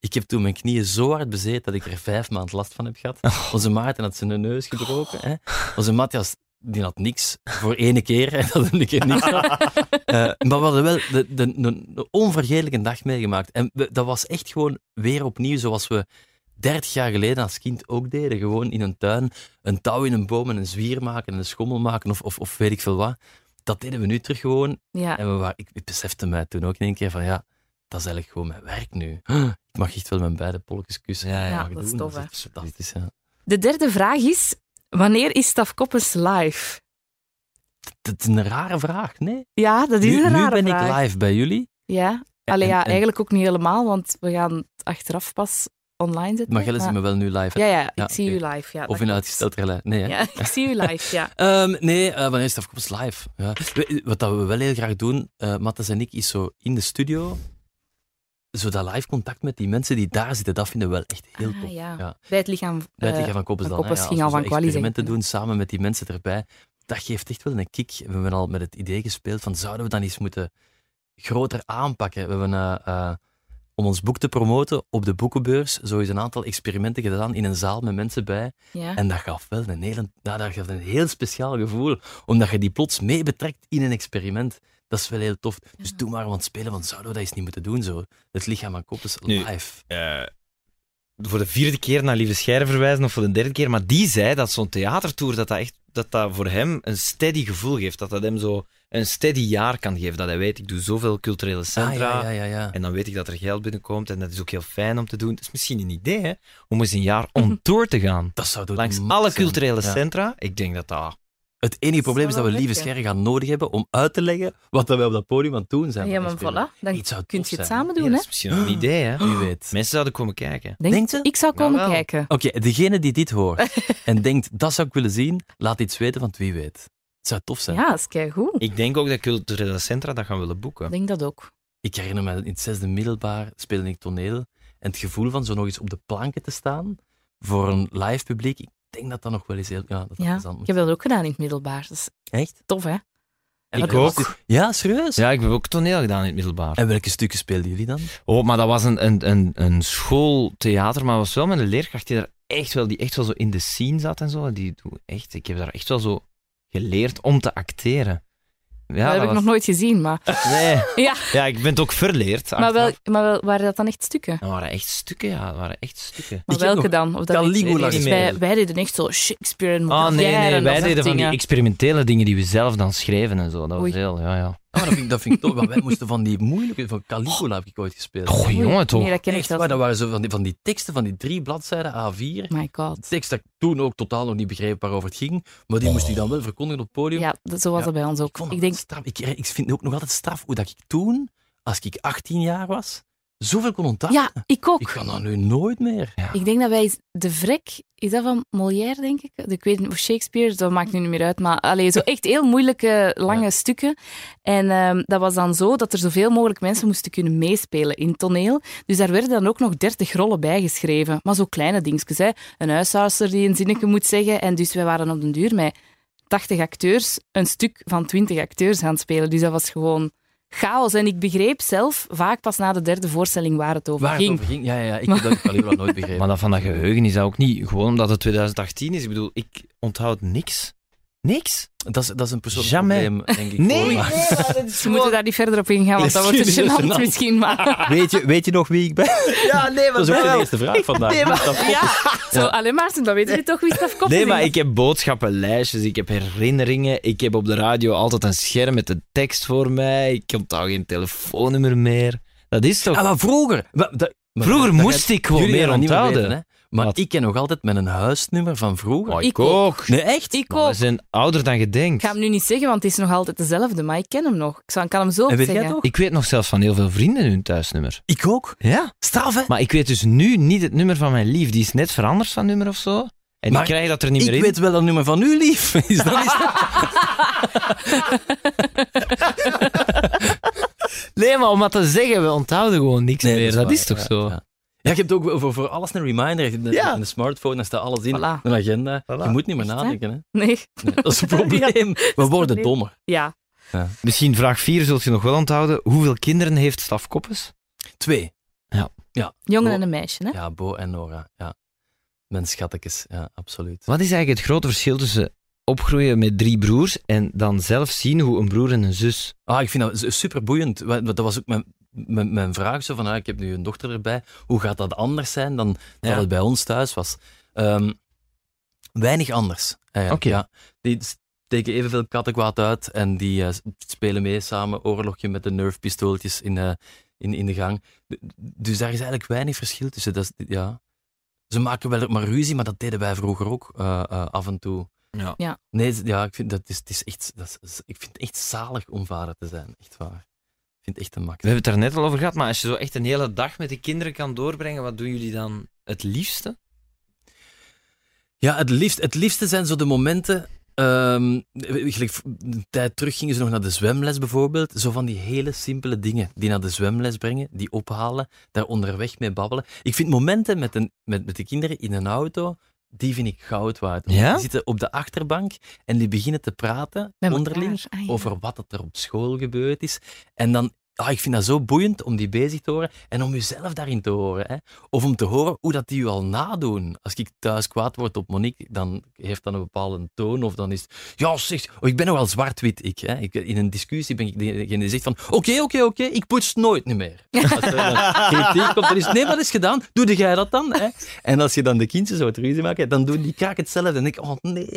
Speaker 2: Ik heb toen mijn knieën zo hard bezet dat ik er vijf maanden last van heb gehad. Onze Maarten had zijn neus gebroken. Hè. Onze Matthias, die had niks. Voor ene keer, hè, dat hij een keer niks had. Eh, maar we hadden wel de, de, de, de onvergetelijke dag meegemaakt. En we- dat was echt gewoon weer opnieuw zoals we 30 jaar geleden als kind ook deden. Gewoon in een tuin een touw in een boom en een zwier maken en een schommel maken of, of, of weet ik veel wat. Dat deden we nu terug gewoon
Speaker 5: Ja.
Speaker 2: en we waren, ik, ik besefte mij toen ook in één keer van ja, dat is eigenlijk gewoon mijn werk nu. Huh, Ik mag echt wel mijn beide polletjes kussen.
Speaker 4: Ja, ja,
Speaker 5: Ja,
Speaker 2: mag ik
Speaker 5: dat is
Speaker 2: doen.
Speaker 5: tof,
Speaker 2: Dat
Speaker 5: hè.
Speaker 2: is fantastisch. Ja.
Speaker 5: De derde vraag is, wanneer is Staf Koppens live?
Speaker 2: Dat is een rare vraag, nee?
Speaker 5: Ja, dat is
Speaker 2: nu,
Speaker 5: een
Speaker 2: nu
Speaker 5: rare
Speaker 2: ben
Speaker 5: vraag.
Speaker 2: ik live bij jullie.
Speaker 5: Ja,
Speaker 2: En-
Speaker 5: Allee, ja
Speaker 2: en- en-
Speaker 5: eigenlijk ook niet helemaal, want we gaan het achteraf pas online zetten.
Speaker 2: Maar Gelle is
Speaker 5: maar-
Speaker 2: me wel nu live. hè?
Speaker 5: Ja, ja, ik
Speaker 2: Ja,
Speaker 5: zie
Speaker 2: oké.
Speaker 5: u live. Ja, dat
Speaker 2: of in
Speaker 5: klopt.
Speaker 2: uitgesteld relais. Nee, hè?
Speaker 5: Ja, ik zie u live, ja.
Speaker 2: Ehm, nee, eh, wanneer is het afkomst live? Ja. We- Wat dat we wel heel graag doen, eh Mattes en ik, is zo in de studio, zo dat live contact met die mensen die daar zitten, dat vinden we wel echt heel
Speaker 5: Ah,
Speaker 2: tof.
Speaker 5: ja.
Speaker 2: Ja.
Speaker 5: Bij het lichaam.
Speaker 2: Bij het
Speaker 5: eh,
Speaker 2: lichaam van Koppers
Speaker 5: van
Speaker 2: dan. hè.
Speaker 5: Koppers
Speaker 2: Ja, als
Speaker 5: ging al
Speaker 2: we
Speaker 5: van
Speaker 2: zo
Speaker 5: Quali zeggen.
Speaker 2: experimenten doen samen met die mensen erbij. Dat geeft echt wel een kick. We hebben al met het idee gespeeld van zouden we dan iets moeten groter aanpakken. We hebben eh, eh, om ons boek te promoten op de boekenbeurs zo is een aantal experimenten gedaan in een zaal met mensen bij.
Speaker 5: ja.
Speaker 2: En dat gaf wel een, hele, nou, dat gaf een heel speciaal gevoel, omdat je die plots mee betrekt in een experiment. Dat is wel heel tof. Dus toen waren we aan het spelen, want zouden we dat eens niet moeten doen zo? Het lichaam van Koppers
Speaker 4: Nu,
Speaker 2: live.
Speaker 4: eh, voor de vierde keer naar Lieve Scheire verwijzen of voor de derde keer, maar die zei dat zo'n theatertour dat dat echt dat dat voor hem een steady gevoel geeft, dat dat hem zo een steady jaar kan geven, dat hij weet ik doe zoveel culturele
Speaker 2: Ah,
Speaker 4: centra
Speaker 2: ja, ja, ja, ja.
Speaker 4: en dan weet ik dat er geld binnenkomt en dat is ook heel fijn om te doen. Het is misschien een idee hè, om eens een jaar on tour te gaan.
Speaker 2: Dat zou doen.
Speaker 4: Langs
Speaker 2: Mak
Speaker 4: alle
Speaker 2: zijn.
Speaker 4: culturele
Speaker 2: Ja.
Speaker 4: centra. Ik denk dat dat...
Speaker 2: Het enige probleem is dat
Speaker 5: wel
Speaker 2: we lieve
Speaker 5: lukken.
Speaker 2: scherren gaan nodig hebben om uit te leggen wat dat wij op dat podium aan het doen zijn.
Speaker 5: ja, maar voilà. Dan
Speaker 2: Iets zou
Speaker 5: kun
Speaker 2: tof
Speaker 5: je het
Speaker 2: zijn.
Speaker 5: samen
Speaker 4: Ja,
Speaker 5: doen,
Speaker 4: dat
Speaker 5: hè.
Speaker 4: is misschien een idee, hè.
Speaker 2: Wie weet.
Speaker 4: Mensen zouden komen kijken.
Speaker 5: Denk-
Speaker 2: Denkt ze?
Speaker 5: Ik zou komen
Speaker 4: Jawel.
Speaker 5: kijken.
Speaker 2: Oké, degene die dit hoort en denkt, dat zou ik willen zien, laat iets weten, want wie weet. Het zou tof zijn.
Speaker 5: Ja, dat is goed.
Speaker 4: Ik denk ook dat culturele centra dat gaan willen boeken.
Speaker 5: Ik denk dat ook.
Speaker 2: Ik herinner me, in het zesde middelbaar speelde ik toneel en het gevoel van zo nog eens op de planken te staan voor een live publiek, ik denk dat dat nog wel eens heel... Ja, dat dat
Speaker 5: Ja.
Speaker 2: plezant
Speaker 5: Ik
Speaker 2: moet
Speaker 5: heb dat ook gedaan in het middelbaar. Dat is
Speaker 2: zijn. Echt?
Speaker 5: tof, hè.
Speaker 2: En
Speaker 4: Ik
Speaker 2: wat was
Speaker 4: ook.
Speaker 2: dit? Ja, serieus?
Speaker 4: Ja, ik heb ook toneel gedaan in het middelbaar.
Speaker 2: En welke stukken speelden jullie dan?
Speaker 4: Oh, maar dat was een, een, een, een schooltheater, maar was wel met een leerkracht die daar echt wel, die echt wel zo in de scene zat en zo. Die, doe- echt, ik heb daar echt wel zo geleerd om te acteren. Ja,
Speaker 5: dat heb ik nog
Speaker 4: was-
Speaker 5: nooit gezien, maar...
Speaker 4: Nee.
Speaker 5: Ja.
Speaker 4: ja, ik ben het ook verleerd.
Speaker 5: Maar, wel,
Speaker 4: achteraf.
Speaker 5: maar wel, waren dat dan echt stukken?
Speaker 4: Dat waren echt stukken, ja. Dat waren echt stukken.
Speaker 5: Maar
Speaker 2: Ik heb
Speaker 5: welke
Speaker 2: nog
Speaker 5: dan? Of dat
Speaker 2: Caligula
Speaker 5: weet ik niet. wij,
Speaker 4: gespeeld.
Speaker 5: wij deden echt zo Shakespeare en
Speaker 4: Ah, nee,
Speaker 5: Molière
Speaker 4: nee.
Speaker 5: en
Speaker 4: Wij
Speaker 5: dat
Speaker 4: deden
Speaker 5: soort
Speaker 4: van die
Speaker 5: dingen.
Speaker 4: experimentele dingen die we zelf dan schreven en zo. Dat was
Speaker 5: Oei.
Speaker 4: heel, ja, ja.
Speaker 2: Ah, maar dat, vind ik, dat vind ik tof, want wij moesten van die moeilijke... Van Caligula heb ik ooit gespeeld.
Speaker 4: Goh, jongen, toch.
Speaker 5: Nee, dat ken ik
Speaker 2: Echt,
Speaker 5: zelfs
Speaker 2: maar dat waren zo van die, van die teksten, van die drie bladzijden A4.
Speaker 5: niet. My god.
Speaker 2: Tekst dat ik toen ook totaal nog niet begreep waarover het ging. Maar die moest ik dan wel verkondigen op het podium.
Speaker 5: Oh. Ja, dat, zo was
Speaker 2: Ja,
Speaker 5: dat bij ons
Speaker 2: Ik
Speaker 5: ook.
Speaker 2: vond
Speaker 5: Ik,
Speaker 2: dat
Speaker 5: denk,
Speaker 2: straf. Ik, ik vind het ook nog altijd straf hoe dat ik toen, als ik 18 jaar was, zoveel kon onthouden.
Speaker 5: ja, ik ook.
Speaker 2: Ik kan dat nu nooit meer.
Speaker 5: Ik denk dat wij de vrek, is dat van Molière, denk ik? Ik weet niet, of Shakespeare, dat maakt nu niet meer uit. Maar allee, zo echt heel moeilijke, lange
Speaker 2: Ja.
Speaker 5: stukken. En ehm, dat was dan zo dat er zoveel mogelijk mensen moesten kunnen meespelen in het toneel. Dus daar werden dan ook nog dertig rollen bij geschreven. Maar zo kleine dingetjes, hè. Een huishoudster die een zinnetje moet zeggen. En dus wij waren op den duur met 80 acteurs een stuk van 20 acteurs aan het spelen. Dus dat was gewoon chaos. En ik begreep zelf vaak pas na de derde voorstelling waar het over
Speaker 2: Waar het
Speaker 5: ging.
Speaker 2: over ging, ja, ja, ja ik heb dat Caligula nooit begrepen.
Speaker 4: Maar dat van dat geheugen is dat ook niet gewoon omdat het 2018 is. Ik bedoel, ik onthoud niks. Niks?
Speaker 2: dat, is, dat is een persoonlijk
Speaker 4: Jamais.
Speaker 2: probleem, denk ik. voor
Speaker 4: Nee,
Speaker 2: mij.
Speaker 5: Ze moeten daar niet verder op ingaan, want dat wordt te
Speaker 2: Misschien is het
Speaker 5: gênant
Speaker 2: gênant.
Speaker 5: misschien. Maar
Speaker 2: Weet je, weet je nog wie ik ben?
Speaker 4: Ja, nee,
Speaker 2: Dat is ook de eerste vraag vandaag.
Speaker 5: zo, alleen maar, dan weten jullie toch wie Staf Koppers
Speaker 4: Nee, maar
Speaker 5: is.
Speaker 4: ik heb boodschappenlijstjes, ik heb herinneringen, ik heb op de radio altijd een scherm met de tekst voor mij, ik onthoud geen telefoonnummer meer. Dat is toch...
Speaker 2: Ah, maar vroeger... wa- dat- maar
Speaker 4: Vroeger
Speaker 2: dat
Speaker 4: moest
Speaker 2: gaat-
Speaker 4: ik gewoon
Speaker 2: jullie
Speaker 4: meer
Speaker 2: gaan dat niet
Speaker 4: onthouden.
Speaker 2: weten, hè. Maar
Speaker 4: Wat?
Speaker 2: ik ken nog altijd mijn huisnummer van vroeger.
Speaker 4: Oh,
Speaker 5: Ik ook.
Speaker 2: Nee, echt?
Speaker 5: Ik
Speaker 4: Maar
Speaker 5: ook.
Speaker 4: we
Speaker 5: Ik
Speaker 4: zijn ouder dan je denkt.
Speaker 5: ga hem nu niet zeggen, want het is nog altijd dezelfde, maar ik ken hem nog. Ik zou- ik kan hem zo
Speaker 2: En weet jij
Speaker 5: zeggen.
Speaker 2: het ook?
Speaker 4: Ik weet nog zelfs van heel veel vrienden hun thuisnummer.
Speaker 2: Ik ook.
Speaker 4: Ja.
Speaker 2: Straf, hè?
Speaker 4: Maar ik weet dus nu niet het nummer van mijn lief. Die is net veranderd van nummer of zo. En
Speaker 2: Maar
Speaker 4: ik krijg dat er niet meer
Speaker 2: ik
Speaker 4: in.
Speaker 2: weet wel dat nummer van u, lief. Is dat, is dat...
Speaker 4: Nee, maar om dat te zeggen, we onthouden gewoon niks meer. Dat is toch
Speaker 2: waar, ja,
Speaker 4: zo?
Speaker 2: Ja. Ja, je hebt ook voor, voor alles een reminder. Je hebt in de,
Speaker 4: Ja.
Speaker 2: in de smartphone, daar staat alles in.
Speaker 5: Voilà.
Speaker 2: Een agenda.
Speaker 4: Voilà.
Speaker 2: Je moet niet meer
Speaker 5: Echt, hè?
Speaker 2: nadenken. Hè?
Speaker 5: Nee,
Speaker 2: Nee, dat is een probleem. We worden
Speaker 5: probleem.
Speaker 2: dommer.
Speaker 5: ja.
Speaker 4: Misschien vraag 4 zult je nog wel onthouden. Hoeveel kinderen heeft Staf Koppes?
Speaker 2: Twee.
Speaker 5: Jongen
Speaker 2: Bo-
Speaker 5: en een meisje, hè?
Speaker 2: Ja, Bo en Nora. Ja. Mijn schattekes. Ja, absoluut.
Speaker 4: Wat is eigenlijk het grote verschil tussen opgroeien met drie broers en dan zelf zien hoe een broer en een zus...
Speaker 2: Ah, ik vind dat super boeiend. Dat was ook mijn, mijn, mijn vraag. Zo van, ah, ik heb nu een dochter erbij. Hoe gaat dat anders zijn dan dat
Speaker 4: Ja.
Speaker 2: het bij ons thuis was? Ehm, weinig anders. eigenlijk,
Speaker 4: Oké.
Speaker 2: Ja. Die steken evenveel kattenkwaad uit en die eh, spelen mee samen oorlogje met de nerfpistooltjes in, eh, in, in de gang. D- Dus daar is eigenlijk weinig verschil tussen. Dat is, ja. Ze maken wel maar ruzie, maar dat deden wij vroeger ook eh, eh, af en toe.
Speaker 4: Ja.
Speaker 5: Ja.
Speaker 2: Nee, z- ja, ik vind, dat is, het is echt, dat is, ik vind het echt zalig om vader te zijn. Echt waar. Ik vind het echt een mak.
Speaker 4: We hebben het daar net al over gehad, maar als je zo echt een hele dag met de kinderen kan doorbrengen, wat doen jullie dan het liefste?
Speaker 2: Ja, het, liefst, het liefste zijn zo de momenten. ehm, gelijk v- een tijd terug gingen ze nog naar de zwemles bijvoorbeeld. Zo van die hele simpele dingen die naar de zwemles brengen, die ophalen, daar onderweg mee babbelen. Ik vind momenten met, een, met, met de kinderen in een auto, die vind ik goud waard. Want
Speaker 4: Ja?
Speaker 2: Die zitten op de achterbank en die beginnen te praten
Speaker 5: Met
Speaker 2: onderling.
Speaker 5: elkaar. Ah, ja.
Speaker 2: over wat dat er op school gebeurd is. En dan, ah, ik vind dat zo boeiend om die bezig te horen en om jezelf daarin te horen. Hè. Of om te horen hoe dat die u al nadoen. Als ik thuis kwaad word op Monique, dan heeft dat een bepaalde toon. Of dan is het, ja zeg, oh, ik ben nogal zwart-wit ik, hè. ik. In een discussie ben ik degene die zegt van, oké, oké, oké, ik poets nooit niet meer. Als er dan kritiek komt, dan is het, nee, maar dat is gedaan. Doe jij dat dan? Hè. En als je dan de kindjes wat ruzie maakt, dan doen die kraak hetzelfde. En ik, oh nee.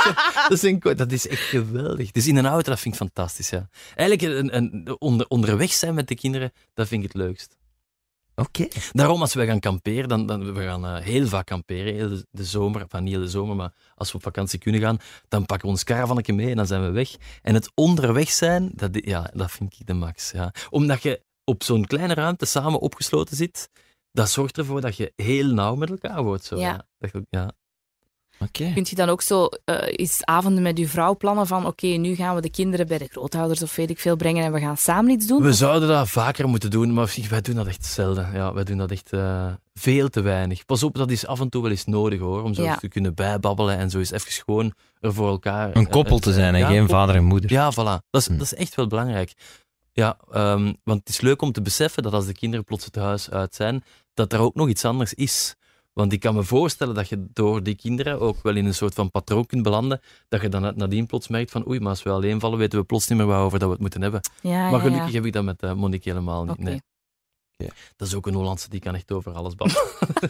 Speaker 2: dat, is een, Dus ko- dat is echt geweldig. Dus in een auto, dat vind ik fantastisch. Ja. Eigenlijk eh, een, een, onder, onderweg zijn met de kinderen, dat vind ik het leukst.
Speaker 4: Oké.
Speaker 2: Daarom, als wij gaan kamperen, dan, dan, we gaan eh, heel vaak kamperen, heel de, de zomer, van niet heel de zomer, maar als we op vakantie kunnen gaan, dan pakken we ons caravannetje mee en dan zijn we weg. En het onderweg zijn, dat, i- ja, dat vind ik de max. Ja. Omdat je op zo'n kleine ruimte samen opgesloten zit, dat zorgt ervoor dat je heel nauw met elkaar wordt. Zo,
Speaker 5: Ja.
Speaker 2: ja. Dat je ook- ja.
Speaker 4: Oké.
Speaker 5: Kunt je dan ook zo eh, eens avonden met uw vrouw plannen van oké, nu gaan we de kinderen bij de grootouders of weet ik veel brengen en we gaan samen iets doen?
Speaker 2: We zouden dat vaker moeten doen, maar wij doen dat echt zelden. Ja, wij doen dat echt eh, veel te weinig. Pas op, dat is af en toe wel eens nodig hoor, om zo
Speaker 5: Ja.
Speaker 2: eens te kunnen bijbabbelen en zo eens even gewoon er voor elkaar... eh,
Speaker 4: Een koppel te zijn en
Speaker 2: Ja,
Speaker 4: geen
Speaker 2: een
Speaker 4: vader en moeder.
Speaker 2: Ja, voilà. Dat is,
Speaker 4: Hm.
Speaker 2: dat is echt wel belangrijk. Ja, ehm, want het is leuk om te beseffen dat als de kinderen plots het huis uit zijn, dat er ook nog iets anders is. Want ik kan me voorstellen dat je door die kinderen ook wel in een soort van patroon kunt belanden, dat je dan nadien plots merkt van oei, maar als we alleen vallen, weten we plots niet meer waarover dat we het moeten hebben.
Speaker 5: ja,
Speaker 2: Maar
Speaker 5: Ah, ja, ja.
Speaker 2: gelukkig heb ik dat met eh, Monique helemaal niet.
Speaker 5: Oké.
Speaker 2: Nee. Dat is ook een Hollandse, die kan echt over alles babbelen.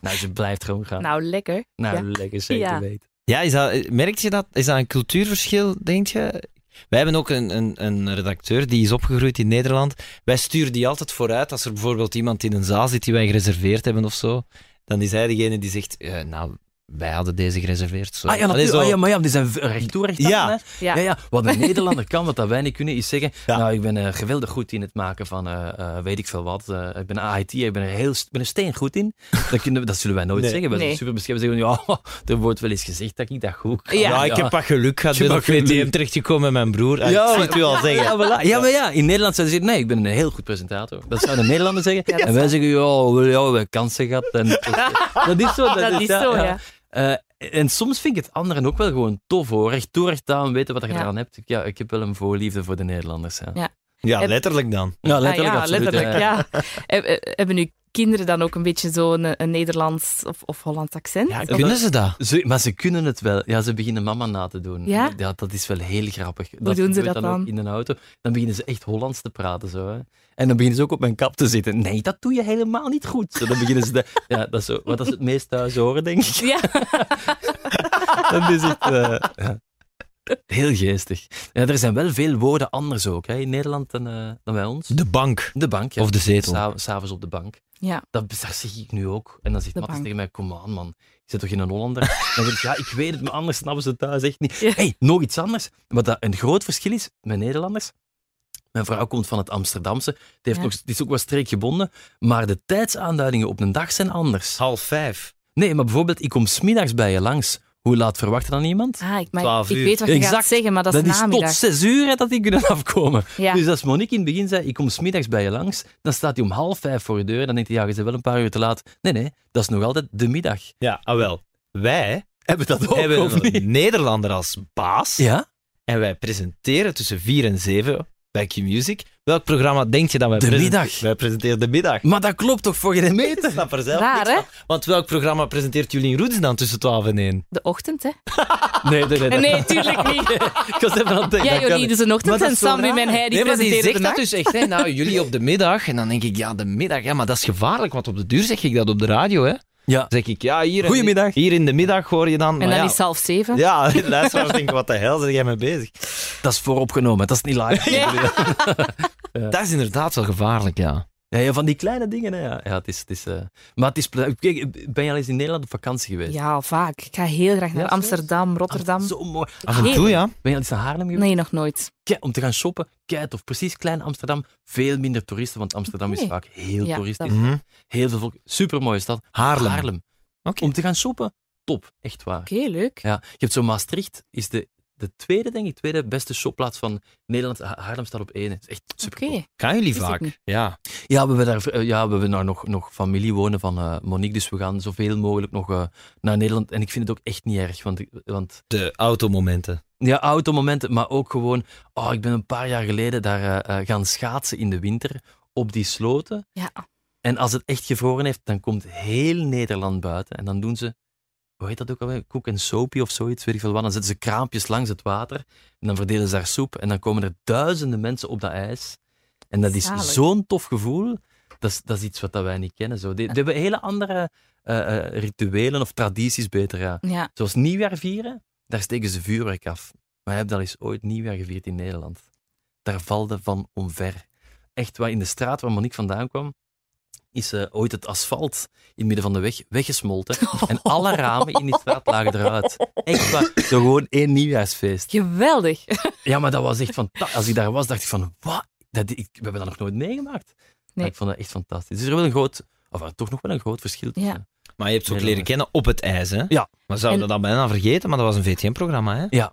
Speaker 2: nou, ze blijft gewoon gaan. Nou,
Speaker 5: Nou, lekker. ja.
Speaker 2: lekker zeker
Speaker 5: Ja.
Speaker 2: weten.
Speaker 4: Ja, is dat, merk je dat? Is dat een cultuurverschil, denk je? Wij hebben ook een, een, een redacteur die is opgegroeid in Nederland. Wij sturen die altijd vooruit. Als er bijvoorbeeld iemand in een zaal zit die wij gereserveerd hebben of zo, dan is hij degene die zegt: eh, Nou, wij hadden deze gereserveerd. Zo.
Speaker 2: Ah ja,
Speaker 4: Allee,
Speaker 2: natuurlijk.
Speaker 4: zo.
Speaker 2: Ah, ja, maar ja, die zijn v- recht toe, recht aan,
Speaker 4: Ja.
Speaker 2: hè.
Speaker 5: Ja.
Speaker 2: Ja, ja, wat een Nederlander kan, wat dat wij niet kunnen, is zeggen:
Speaker 4: Ja.
Speaker 2: Nou, ik ben eh, geweldig goed in het maken van eh, eh, weet ik veel wat. Eh, ik ben AIT, ik ben er, heel, st- ben er steen goed in. Dat, kunnen, we- dat zullen wij nooit
Speaker 4: Nee.
Speaker 2: zeggen. Wij zijn
Speaker 5: Nee.
Speaker 2: super bescheiden. We zeggen: Ja, er wordt wel eens gezegd dat ik dat goed kan.
Speaker 4: Ja, ik heb wat geluk gehad.
Speaker 2: Je
Speaker 4: Ik ben op
Speaker 2: hebt wat
Speaker 4: VTM
Speaker 2: geluk.
Speaker 4: terechtgekomen met mijn broer. Ah,
Speaker 2: Ja,
Speaker 4: ik zie het u al zeggen.
Speaker 2: Ja, voilà. ja, maar ja, in Nederland zouden ze zeggen, nee, ik ben een heel goed presentator. Dat zouden Nederlanders zeggen. en wij zeggen, ja, wel, ja, we hebben kansen gehad. En, dat is zo. Dat,
Speaker 5: Dat is zo, ja.
Speaker 2: Eh, en soms vind ik het anderen ook wel gewoon tof, hoor. Recht toe, recht aan, weten wat je
Speaker 5: Ja.
Speaker 2: eraan hebt. Ik- Ja, ik heb wel een voorliefde voor de Nederlanders. Ja,
Speaker 5: Ja.
Speaker 4: Ja,
Speaker 5: Heb-
Speaker 4: letterlijk dan.
Speaker 2: Ja,
Speaker 5: Ah,
Speaker 2: letterlijk,
Speaker 5: ja,
Speaker 2: absoluut.
Speaker 5: letterlijk,
Speaker 2: ja.
Speaker 5: ja. Heb- eh, Hebben uw kinderen dan ook een beetje zo'n eh, een Nederlands of, of Hollands accent?
Speaker 2: Ja,
Speaker 4: Kunnen ze dat?
Speaker 2: Ze- maar ze kunnen het wel. Ja, ze beginnen mama na te doen.
Speaker 5: Ja?
Speaker 2: dat is wel heel grappig. Hoe
Speaker 5: doen ze dat dan?
Speaker 2: Ook in een auto. Dan beginnen ze echt Hollands te praten. Zo, hè. En dan beginnen ze ook op mijn kap te zitten. Nee, dat doe je helemaal niet goed. Zo, dan beginnen ze... De, ja, dat is zo, wat ze het meest thuis horen, denk ik.
Speaker 5: Ja.
Speaker 2: Dat is het... eh, ja. Heel geestig. Ja, er zijn wel veel woorden anders ook hè, in Nederland dan, eh, dan bij ons.
Speaker 4: De bank.
Speaker 2: De bank, ja.
Speaker 4: Of de zetel.
Speaker 2: Sa- S'avonds op de bank.
Speaker 5: Ja.
Speaker 2: Dat, dat zeg ik nu ook. En dan zegt
Speaker 5: De
Speaker 2: Matthias
Speaker 5: bank.
Speaker 2: tegen mij, kom aan man, je zit toch in een Hollander? dan zeg ik, ja, ik weet het, maar anders snappen ze het thuis echt niet.
Speaker 5: Ja.
Speaker 2: hey, nog iets anders. Wat dat een groot verschil is met Nederlanders. Mijn vrouw komt van het Amsterdamse. Die, heeft
Speaker 5: Ja.
Speaker 2: nog, die is ook wel streekgebonden. Maar de tijdsaanduidingen op een dag zijn anders.
Speaker 4: Half vijf.
Speaker 2: Nee, maar bijvoorbeeld, ik kom smiddags bij je langs. Hoe laat verwachten dan iemand?
Speaker 5: Ah, ik, maar
Speaker 4: 12
Speaker 5: ik
Speaker 4: uur.
Speaker 5: weet wat je gaat
Speaker 2: Exact.
Speaker 5: zeggen, maar dat is
Speaker 2: dat is tot
Speaker 5: namiddag.
Speaker 2: zes uur hè, dat die kunnen afkomen.
Speaker 5: Ja.
Speaker 2: Dus als Monique in het begin zei, ik kom smiddags bij je langs, dan staat hij om half vijf voor je deur en dan denkt hij, ja, je bent wel een paar uur te laat. Nee, nee, dat is nog altijd de middag.
Speaker 4: Ja, ah wel. Wij
Speaker 2: Hebben we dat ook,
Speaker 4: hebben
Speaker 2: of niet?
Speaker 4: een Nederlander als baas.
Speaker 2: Ja,
Speaker 4: En wij presenteren tussen 4 en 7 bij Q-Music. Welk programma denk je dat wij
Speaker 2: De
Speaker 4: presenteren?
Speaker 2: middag.
Speaker 4: Wij presenteren de middag.
Speaker 2: maar dat klopt toch voor geen meter?
Speaker 4: Ik snap er zelf
Speaker 5: Raar,
Speaker 4: niks
Speaker 5: hè?
Speaker 4: van. Want welk programma presenteert Julien Roets dan tussen 12 en 1?
Speaker 5: De ochtend, hè?
Speaker 2: Nee, nee, nee. dat-
Speaker 5: Nee, tuurlijk niet.
Speaker 2: Ik was even aan het denken.
Speaker 5: Ja,
Speaker 2: dat kan
Speaker 5: jullie,
Speaker 2: niet.
Speaker 5: dus een
Speaker 2: Maar
Speaker 5: ochtend
Speaker 2: dat
Speaker 5: en
Speaker 2: is zo
Speaker 5: Sam,
Speaker 2: raar.
Speaker 5: Wim en hij die
Speaker 4: nee, maar die
Speaker 5: presenteren
Speaker 4: zegt
Speaker 5: de
Speaker 4: dat
Speaker 5: nacht.
Speaker 4: dus echt. Hè? Nou, jullie op de middag. En dan denk ik, ja, de middag. Ja, maar dat is gevaarlijk. Want op de duur zeg ik dat op de radio. Hè?
Speaker 2: Ja,
Speaker 4: Dan zeg ik, ja, hier, en-
Speaker 2: Goedemiddag.
Speaker 4: hier in de middag hoor je dan.
Speaker 5: En
Speaker 4: maar
Speaker 5: dan
Speaker 4: ja,
Speaker 5: is het half zeven.
Speaker 4: Ja, de luisteraars denken, wat de hel ben jij mee bezig?
Speaker 2: dat is vooropgenomen, dat is niet live.
Speaker 4: Dat is inderdaad wel gevaarlijk, ja.
Speaker 2: Ja, ja, van die kleine dingen, hè. Ja, ja het is... Het is eh, Maar het is... ple- Kijk, ben je al eens in Nederland op vakantie geweest?
Speaker 5: Ja, al vaak. Ik ga heel graag naar
Speaker 2: Ja,
Speaker 5: Amsterdam, Rotterdam.
Speaker 2: Ah, Zo mooi.
Speaker 4: Af en toe,
Speaker 5: Heerlijk.
Speaker 4: ja.
Speaker 2: Ben je al eens naar Haarlem geweest?
Speaker 5: Nee, nog nooit.
Speaker 2: Kei- om te gaan shoppen, kijk of precies klein Amsterdam, veel minder toeristen, want Amsterdam
Speaker 5: Oké.
Speaker 2: is vaak heel
Speaker 5: Ja,
Speaker 2: toeristisch.
Speaker 5: dat-
Speaker 4: Mhm.
Speaker 2: Heel veel volk, supermooie stad.
Speaker 4: Haarlem. Oké.
Speaker 2: Om te gaan shoppen, top, echt waar.
Speaker 5: Oké, leuk.
Speaker 2: Ja, je hebt zo Maastricht, is de, de tweede, denk ik, tweede beste shopplaats van Nederland. Ha- Haarlem staat op één. Het is echt super.
Speaker 5: Oké.
Speaker 4: Gaan jullie
Speaker 5: Wist ik
Speaker 4: vaak?
Speaker 5: niet.
Speaker 4: Ja.
Speaker 2: Ja, we hebben daar, eh, ja, we hebben daar nog, nog familie wonen van eh, Monique, dus we gaan zoveel mogelijk nog eh, naar Nederland. En ik vind het ook echt niet erg, want, ik- want
Speaker 4: De automomenten.
Speaker 2: Ja, automomenten, maar ook gewoon... Oh, ik ben een paar jaar geleden daar eh, eh, gaan schaatsen in de winter op die sloten.
Speaker 5: Ja.
Speaker 2: En als het echt gevroren heeft, dan komt heel Nederland buiten. En dan doen ze, hoe heet dat ook alweer? Koek en soapie of zoiets, weet ik veel wat. Dan zetten ze kraampjes langs het water en dan verdelen ze daar soep. En dan komen er duizenden mensen op dat ijs. En dat is
Speaker 5: Zalig.
Speaker 2: zo'n tof gevoel. Dat is, dat is iets wat dat wij niet kennen. Zo. Die, die hebben hele andere eh, eh, rituelen of tradities beter. ja.
Speaker 5: Ja.
Speaker 2: Zoals nieuwjaar vieren, daar steken ze vuurwerk af. Maar je hebt al eens ooit nieuwjaar gevierd in Nederland. Daar valde van omver. Echt waar, in de straat waar Monique vandaan kwam, is eh, ooit het asfalt in het midden van de weg weggesmolten. En alle ramen in die straat lagen eruit. Echt waar, zo gewoon één nieuwjaarsfeest.
Speaker 5: Geweldig.
Speaker 2: Ja, maar dat was echt fantastisch. Als ik daar was, dacht ik van, wat? Dat, ik, we hebben dat nog nooit meegemaakt.
Speaker 5: Nee.
Speaker 2: Ik vond dat echt fantastisch. Dus er is wel een groot, of eh, toch nog wel een groot verschil tussen.
Speaker 5: Ja.
Speaker 4: Maar je hebt ze ook
Speaker 2: Nederland.
Speaker 4: leren kennen op het ijs, hè?
Speaker 2: Ja.
Speaker 4: Maar zouden
Speaker 5: En-
Speaker 4: dat bijna vergeten, maar dat was een VTM-programma, hè?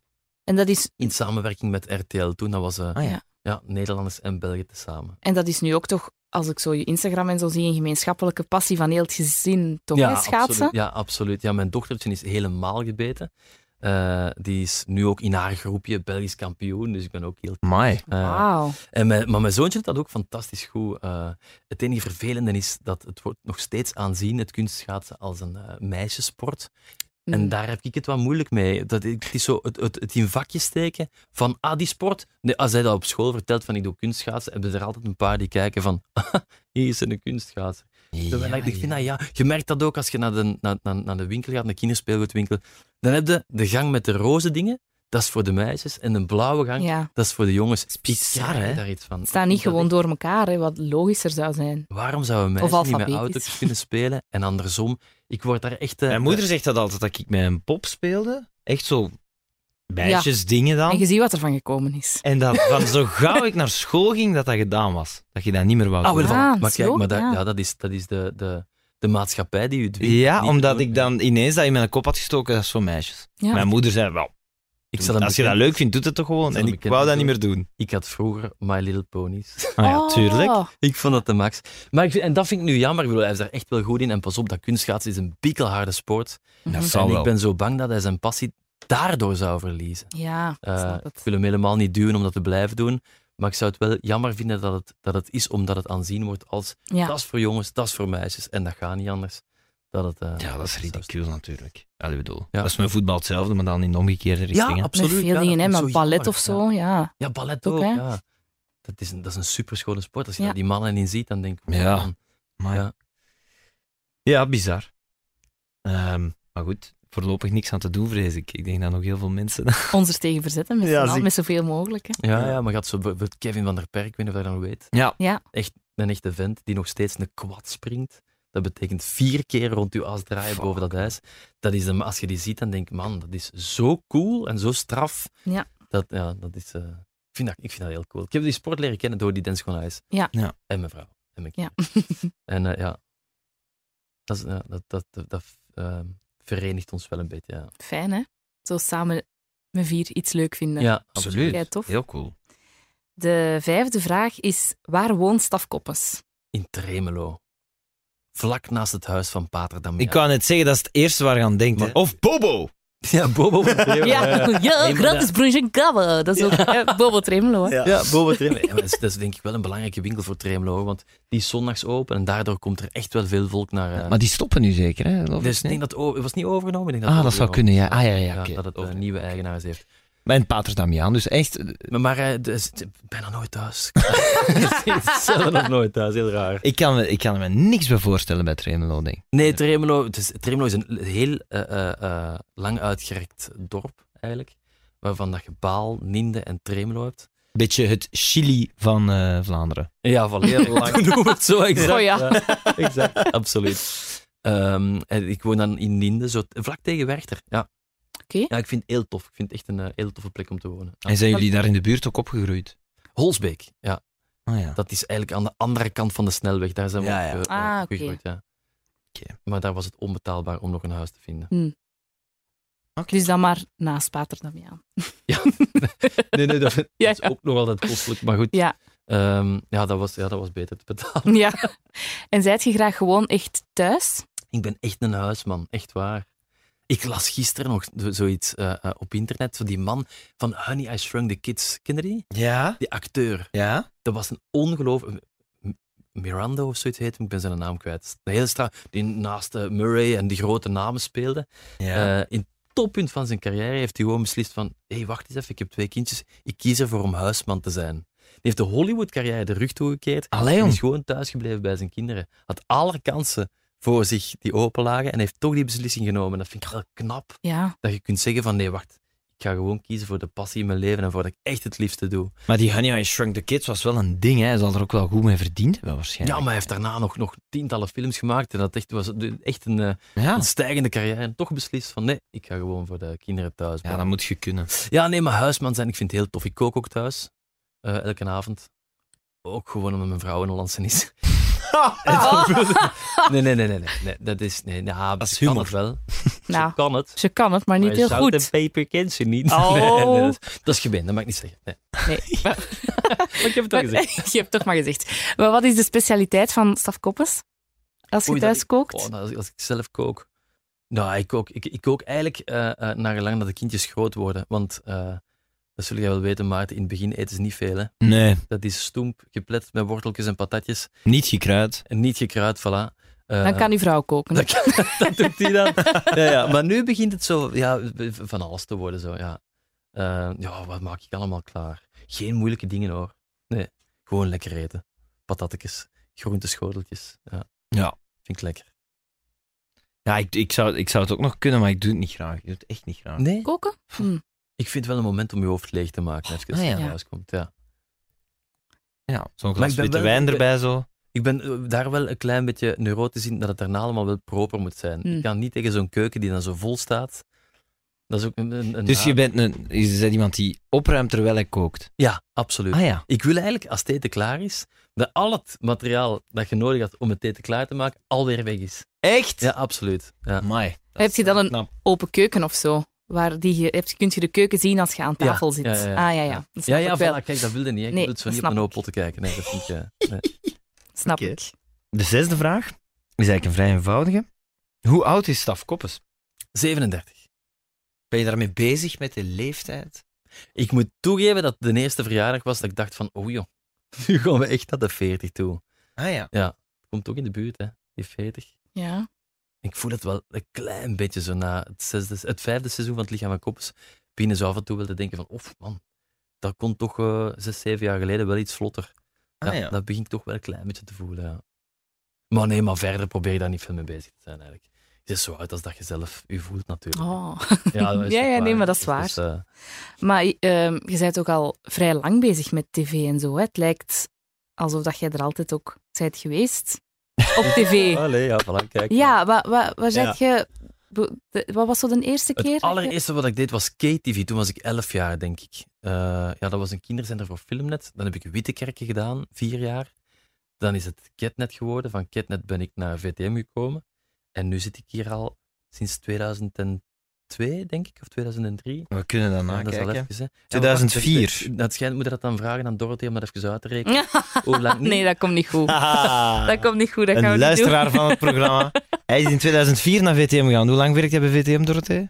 Speaker 5: En dat, is,
Speaker 2: In samenwerking met RTL toen, dat was eh,
Speaker 4: Ah,
Speaker 5: ja.
Speaker 2: ja, Nederlanders en Belgen tezamen.
Speaker 5: en dat is nu ook toch, als ik zo je Instagram en zo zie, een gemeenschappelijke passie van heel het gezin. Toch, hè, schaatsen?
Speaker 2: Absoluut. Ja, absoluut. Ja, mijn dochtertje is helemaal gebeten. Eh, die is nu ook in haar groepje Belgisch kampioen, dus ik ben ook heel...
Speaker 4: Mai.
Speaker 2: eh,
Speaker 5: Wauw.
Speaker 2: en mijn, maar mijn zoontje doet dat ook fantastisch goed. Eh, het enige vervelende is dat het wordt nog steeds aanzien, het kunstschaatsen, als een eh, meisjesport. En
Speaker 5: Mm.
Speaker 2: daar heb ik het wat moeilijk mee. Dat, ik- het is zo het, het, het in vakjes steken van, ah, die sport. Nee, als hij dat op school vertelt van, ik doe kunstschaatsen, hebben er altijd een paar die kijken van, ah, hier is een kunstschaatser. Terwijl ik- ik vind dat, ja, je merkt dat ook als je naar de, naar, naar, naar de winkel gaat, naar de kinderspeelgoedwinkel. Dan heb je de gang met de roze dingen, dat is voor de meisjes, en de blauwe gang,
Speaker 5: Ja.
Speaker 2: dat is voor de jongens. Het
Speaker 4: bizar, hè?
Speaker 2: Daar iets van.
Speaker 5: Het staat niet gewoon door elkaar, hè, wat logischer zou zijn.
Speaker 2: Waarom zouden
Speaker 5: Of
Speaker 2: meisjes niet met
Speaker 5: alfabetisch.
Speaker 2: auto's kunnen spelen en andersom? Ik word daar echt... eh,
Speaker 4: Mijn moeder zegt dat altijd, dat ik met een pop speelde. Echt zo meisjesdingen dan.
Speaker 5: En
Speaker 4: En,
Speaker 5: je ziet wat er van gekomen is.
Speaker 4: dat van zo gauw ik naar school ging, dat dat gedaan was. Dat je dat niet meer wou
Speaker 2: Ah, wel,
Speaker 4: doen.
Speaker 5: Ah,
Speaker 2: maar
Speaker 5: zo,
Speaker 2: kijk, maar dat,
Speaker 5: ja.
Speaker 2: ja. dat is, dat is de, de, de maatschappij die u dwingt.
Speaker 4: Ja,
Speaker 2: niet
Speaker 4: omdat
Speaker 2: te doen.
Speaker 4: ik dan ineens dat in mijn kop had gestoken, dat is voor meisjes.
Speaker 5: Ja.
Speaker 4: Mijn moeder zei, wel,
Speaker 2: Ik, zal hem
Speaker 4: als je dat
Speaker 2: bekennen.
Speaker 4: leuk vindt, doet het toch
Speaker 2: Ik
Speaker 4: gewoon.
Speaker 2: zal
Speaker 4: En
Speaker 2: hem
Speaker 4: ik
Speaker 2: bekend
Speaker 4: wou dat niet
Speaker 2: doen.
Speaker 4: meer doen.
Speaker 2: ik had vroeger My Little Ponies.
Speaker 4: Ah ja, tuurlijk.
Speaker 5: Oh,
Speaker 2: Ik vond dat de max. Maar ik vind- en dat vind ik nu jammer. Ik bedoel, hij is daar echt wel goed in. En pas op, dat kunstschaatsen is een pikkelharde sport.
Speaker 5: Dat
Speaker 4: zal
Speaker 2: en
Speaker 4: wel.
Speaker 2: ik ben zo bang dat hij zijn passie daardoor zou verliezen.
Speaker 5: Ja,
Speaker 2: Eh,
Speaker 5: snap
Speaker 2: ik
Speaker 5: het.
Speaker 2: wil hem helemaal niet duwen om dat te blijven doen. Maar ik zou het wel jammer vinden dat het, dat het is omdat het aanzien wordt als
Speaker 5: Ja.
Speaker 2: dat is voor jongens, dat is voor meisjes. En dat gaat niet anders. Dat het, eh,
Speaker 4: Ja, dat is ridicuul natuurlijk. Allee, bedoel,
Speaker 2: Ja.
Speaker 4: dat is met voetbal hetzelfde, maar dan in de omgekeerde
Speaker 2: Ja,
Speaker 4: richting. hè.
Speaker 2: absoluut.
Speaker 5: Met
Speaker 2: ja,
Speaker 5: veel
Speaker 2: dat
Speaker 5: dingen, hè,
Speaker 2: vind ik
Speaker 5: met
Speaker 2: zo
Speaker 5: ballet
Speaker 2: jammer,
Speaker 5: of zo, ja.
Speaker 2: Ja, ballet
Speaker 5: Ook,
Speaker 2: ook.
Speaker 5: hè?
Speaker 2: ja. dat, is een, dat is een superschone sport. Als je
Speaker 5: Ja.
Speaker 2: daar die mannen in ziet, dan denk ik...
Speaker 4: Ja.
Speaker 2: man,
Speaker 4: Maar ja.
Speaker 2: Ja.
Speaker 4: ja, bizar. Ehm, maar goed, voorlopig niks aan te doen, vrees ik. Ik denk dat nog heel veel mensen.
Speaker 5: Ons er tegen verzetten, met,
Speaker 4: Ja,
Speaker 5: z'n allen,
Speaker 4: zie-
Speaker 5: met zoveel mogelijk. Hè.
Speaker 2: Ja, ja, maar gaat zo bij- bij Kevin van der Perk, ik weet niet of je dat nog weet.
Speaker 4: Ja.
Speaker 5: Ja.
Speaker 2: Echt een echte vent die nog steeds een kwad springt. Dat betekent vier keer rond je as draaien
Speaker 4: Fuck.
Speaker 2: boven dat ijs. Dat is de, als je die ziet, dan denk ik, man, dat is zo cool en zo straf.
Speaker 5: Ja.
Speaker 2: Dat, ja, dat is, eh, ik, vind dat, ik vind dat heel cool. Ik heb die sport leren kennen door die dance gewoon ijs.
Speaker 5: Ja.
Speaker 4: Ja.
Speaker 2: En mijn vrouw. En mijn
Speaker 5: Ja.
Speaker 2: kinderen. En eh, ja, dat, is, ja, dat, dat, dat, dat, eh, verenigt ons wel een beetje. Ja,
Speaker 5: Fijn, hè? Zo samen met vier iets leuk vinden.
Speaker 2: ja
Speaker 4: Absoluut.
Speaker 5: Ja, tof.
Speaker 4: Heel cool.
Speaker 5: De vijfde vraag is, waar woont Stafkoppens?
Speaker 2: In Tremelo. Vlak naast het huis van Pater Damian.
Speaker 4: Ik kan net zeggen, dat is het eerste waar je aan denkt.
Speaker 2: Maar-
Speaker 4: hè. Of Bobo!
Speaker 2: Ja, Bobo van Tremelo.
Speaker 5: Ja, ja
Speaker 2: Nee, maar
Speaker 5: gratis
Speaker 2: dat-
Speaker 5: broesje en kabel. Dat is ook eh, Bobo Tremelo, hè?
Speaker 2: Ja, Bobo Tremelo. Ja, maar dat, is, dat is denk ik wel een belangrijke winkel voor Tremelo, hoor, want die is zondags open en daardoor komt er echt wel veel volk naar... eh,
Speaker 6: Maar die stoppen nu zeker, hè? geloof ik,
Speaker 2: dus ik
Speaker 6: nee?
Speaker 2: denk dat het o- het was niet overgenomen. Ik denk
Speaker 6: Ah,
Speaker 2: het
Speaker 6: dat zou
Speaker 2: overgenomen
Speaker 6: kunnen, ja.
Speaker 2: is.
Speaker 6: Ah, ja, ja, oké.
Speaker 2: dat het eh,
Speaker 6: Over-
Speaker 2: nieuwe eigenaars heeft.
Speaker 6: Mijn pater Damiaan, dus echt... eh,
Speaker 2: Maar, maar eh, de- ze- ze- bijna nooit thuis. Zelden nog nooit thuis, heel raar.
Speaker 6: Ik kan, me- ik kan me niks bij voorstellen bij Tremelo, denk ik.
Speaker 2: Nee, Tremelo, het is, Tremelo is een heel eh, eh, eh, lang uitgerekt dorp, eigenlijk. Waarvan dat je Baal, Ninde en Tremelo hebt.
Speaker 6: Beetje het Chili van eh, Vlaanderen.
Speaker 2: Ja, van heel lang. Noem het zo exact.
Speaker 5: Oh ja.
Speaker 2: exact, absoluut. Ehm, en ik woon dan in Ninde, zo t- vlak tegen Werchter. Ja.
Speaker 5: Oké.
Speaker 2: ja, ik vind het heel tof. Ik vind het echt een eh, heel toffe plek om te wonen. Ja.
Speaker 6: En zijn jullie daar in de buurt ook opgegroeid?
Speaker 2: Holsbeek, ja.
Speaker 4: Oh
Speaker 6: Ah ja.
Speaker 2: Dat is eigenlijk aan de andere kant van de snelweg. Daar zijn we
Speaker 4: Ja,
Speaker 2: op,
Speaker 4: ja.
Speaker 2: eh, op
Speaker 5: Ah, oké.
Speaker 2: gegroeid, ja.
Speaker 6: Oké.
Speaker 2: Maar daar was het onbetaalbaar om nog een huis te vinden.
Speaker 5: Dus dan maar naast Pater Damiaan.
Speaker 2: Nee, nee, dat,
Speaker 5: Ja,
Speaker 2: is ook nog altijd kostelijk, maar goed.
Speaker 5: Ja.
Speaker 2: Ehm, ja, dat was, ja, dat was beter te betalen.
Speaker 5: Ja. En zijt je graag gewoon echt thuis?
Speaker 2: Ik ben echt een huisman, echt waar. Ik las gisteren nog zo- zoiets eh, eh, op internet van die man van Honey, I Shrunk the Kids. Ken je die?
Speaker 4: Ja?
Speaker 2: Die acteur.
Speaker 4: Ja?
Speaker 2: Dat was een ongelooflijk... M- Miranda of zoiets heet hem, ik ben zijn naam kwijt. De hele straat, die naast eh, Murray en die grote namen speelde.
Speaker 4: Ja.
Speaker 2: Eh, in het toppunt van zijn carrière heeft hij gewoon beslist van hé, hey, wacht eens even, ik heb twee kindjes, ik kies ervoor om huisman te zijn. Die heeft de Hollywood-carrière de rug toegekeerd
Speaker 6: Allee,
Speaker 2: en
Speaker 6: jong.
Speaker 2: is gewoon thuisgebleven bij zijn kinderen. Had alle kansen voor zich die open lagen en heeft toch die beslissing genomen. Dat vind ik wel knap,
Speaker 5: Ja.
Speaker 2: dat je kunt zeggen van nee, wacht, ik ga gewoon kiezen voor de passie in mijn leven en voor wat ik echt het liefste doe.
Speaker 6: Maar die Honey I Shrunk the Kids was wel een ding, hè. Hij zal er ook wel goed mee verdiend hebben,
Speaker 2: Ja,
Speaker 6: waarschijnlijk.
Speaker 2: maar hij heeft daarna nog, nog tientallen films gemaakt en dat echt, was echt een, eh,
Speaker 6: Ja,
Speaker 2: een stijgende carrière. En toch beslist van nee, ik ga gewoon voor de kinderen thuis.
Speaker 6: ja dat moet je kunnen.
Speaker 2: Ja, nee, maar huisman zijn, ik vind het heel tof. Ik kook ook thuis, eh, elke avond. Ook gewoon omdat mijn vrouw een Hollandse is. En dan- nee, nee, nee, nee, nee, nee, dat is... Nee, nou,
Speaker 4: Dat is
Speaker 2: ze kan
Speaker 4: humor.
Speaker 2: het wel.
Speaker 5: Nou,
Speaker 2: Ze kan het.
Speaker 5: ze kan het, maar niet
Speaker 2: maar
Speaker 5: heel
Speaker 2: zout en
Speaker 5: goed.
Speaker 2: peper kent ze niet.
Speaker 5: Oh.
Speaker 2: Nee, nee, dat, is, dat is gemeen, dat mag ik niet zeggen. Nee.
Speaker 5: Nee.
Speaker 2: Maar ik heb het al gezegd.
Speaker 5: je hebt toch maar gezegd. Maar wat is de specialiteit van Stafkoppens? Als je
Speaker 2: Oei, dat
Speaker 5: thuis
Speaker 2: ik-
Speaker 5: kookt?
Speaker 2: Oh, nou, als, als ik zelf kook... Nou, ik kook, ik, ik kook eigenlijk eh, eh, naar gelang dat de kindjes groot worden. Want, eh, dat zul jij wel weten, Maarten, in het begin eten ze niet veel. Hè.
Speaker 6: Nee,
Speaker 2: Dat is stoemp, geplet met worteltjes en patatjes.
Speaker 6: niet gekruid.
Speaker 2: En niet gekruid, voilà. Eh,
Speaker 5: Dan kan uw vrouw koken.
Speaker 2: dat, kan- dat doet hij dan. ja, ja. Maar nu begint het zo ja, van alles te worden. Zo, ja. Eh, ja, wat maak ik allemaal klaar? Geen moeilijke dingen hoor. Nee, gewoon lekker eten. Patatjes, groenteschoteltjes. Ja.
Speaker 6: Ja.
Speaker 2: Vind ik lekker.
Speaker 6: Ja, ik, ik, zou, ik zou het ook nog kunnen, maar ik doe het niet graag. Ik doe het echt niet graag.
Speaker 2: Nee?
Speaker 5: Koken? Hm.
Speaker 2: Ik vind het wel een moment om je hoofd leeg te maken als je
Speaker 6: Ah, ja.
Speaker 2: naar huis komt. Ja.
Speaker 6: Ja, zo'n
Speaker 2: Maar
Speaker 6: glas
Speaker 2: ik ben
Speaker 6: witte
Speaker 2: wel-
Speaker 6: wijn
Speaker 2: ik ben-
Speaker 6: erbij zo.
Speaker 2: Ik ben eh, daar wel een klein beetje neurotisch in dat het daarna allemaal wel proper moet zijn.
Speaker 5: Hmm.
Speaker 2: Ik kan niet tegen zo'n keuken die dan zo vol staat. Dat is ook een... een, een
Speaker 6: Dus je bent, een, je bent iemand die opruimt terwijl hij kookt.
Speaker 2: Ja, absoluut.
Speaker 6: Ah ja.
Speaker 2: Ik wil eigenlijk, als het eten klaar is, dat al het materiaal dat je nodig had om het eten klaar te maken, alweer weg is.
Speaker 6: Echt?
Speaker 2: Ja, absoluut. Ja.
Speaker 6: Amai, dat
Speaker 5: Heb
Speaker 6: is
Speaker 5: je dan
Speaker 6: wel
Speaker 5: een-
Speaker 6: knap.
Speaker 5: Open keuken of zo. Waar die je, heb, je kunt je de keuken zien als je aan
Speaker 2: Ja,
Speaker 5: tafel zit.
Speaker 2: ja, ja, ja.
Speaker 5: Ah ja, ja. Dat
Speaker 2: Ja,
Speaker 5: snap
Speaker 2: ja,
Speaker 5: ik wel.
Speaker 2: voilà, kijk, dat wilde niet. hè. Ik
Speaker 5: Nee,
Speaker 2: wil het zo
Speaker 5: dat
Speaker 2: niet op
Speaker 5: snap
Speaker 2: mijn
Speaker 5: ik.
Speaker 2: oppot te kijken. Nee, dat vind ik... eh, nee.
Speaker 5: Snap
Speaker 6: Oké.
Speaker 5: ik.
Speaker 6: De zesde vraag is eigenlijk een vrij eenvoudige. Hoe oud is Staf Koppes?
Speaker 2: 37.
Speaker 6: Ben je daarmee bezig met de leeftijd?
Speaker 2: Ik moet toegeven dat het de eerste verjaardag was dat ik dacht van, oh joh, nu gaan we echt naar de 40 toe.
Speaker 6: Ah ja.
Speaker 2: Komt ook in de buurt, hè, die 40.
Speaker 5: Ja.
Speaker 2: Ik voel het wel een klein beetje zo na het, zesde, het vijfde seizoen van het Lichaam van Koppers. Binnen zo af en toe wel te denken van, of man, dat kon toch eh, zes, zeven jaar geleden wel iets vlotter.
Speaker 6: Ah,
Speaker 2: ja,
Speaker 6: ja.
Speaker 2: Dat begin ik toch wel een klein beetje te voelen, ja. Maar nee, maar verder probeer je daar niet veel mee bezig te zijn eigenlijk. Het is zo oud als dat je zelf je voelt natuurlijk.
Speaker 5: Oh.
Speaker 2: dat is
Speaker 5: Ja,
Speaker 2: toch
Speaker 5: ja, nee, maar dat is
Speaker 2: Dus,
Speaker 5: waar.
Speaker 2: dus, eh,
Speaker 5: Maar ehm, je bent ook al vrij lang bezig met tv en zo. Hè? Het lijkt alsof dat jij er altijd ook bent geweest. Op tv.
Speaker 2: allee, ja, voilà, kijk.
Speaker 5: Ja, wat, wat, wat, zet je, be- de- wat was zo de eerste keer?
Speaker 2: Het
Speaker 5: dat je-
Speaker 2: allereerste wat ik deed was KTV. Toen was ik 11 jaar, denk ik. Eh, ja, dat was een kinderzender voor Filmnet. Dan heb ik Wittekerken gedaan, vier jaar. Dan is het Ketnet geworden. Van Ketnet ben ik naar VTM gekomen. En nu zit ik hier al sinds 2002, denk ik, of 2003.
Speaker 4: We kunnen dat
Speaker 2: Ja, dat is
Speaker 4: nakijken.
Speaker 2: al even, hè. Ja, maar
Speaker 4: 2004.
Speaker 2: wacht, dus, eh, Dat schijnt, moet je dat dan vragen aan Dorothee om dat even uit te rekenen. Hoe lang niet?
Speaker 5: Nee, dat komt niet goed.
Speaker 4: Haha.
Speaker 5: Dat komt niet goed, dat gaan we
Speaker 4: Ah. Een
Speaker 5: niet doen.
Speaker 4: luisteraar van het programma. Hij is in 2004 naar VTM gegaan. Hoe lang werkt hij bij VTM, Dorothee?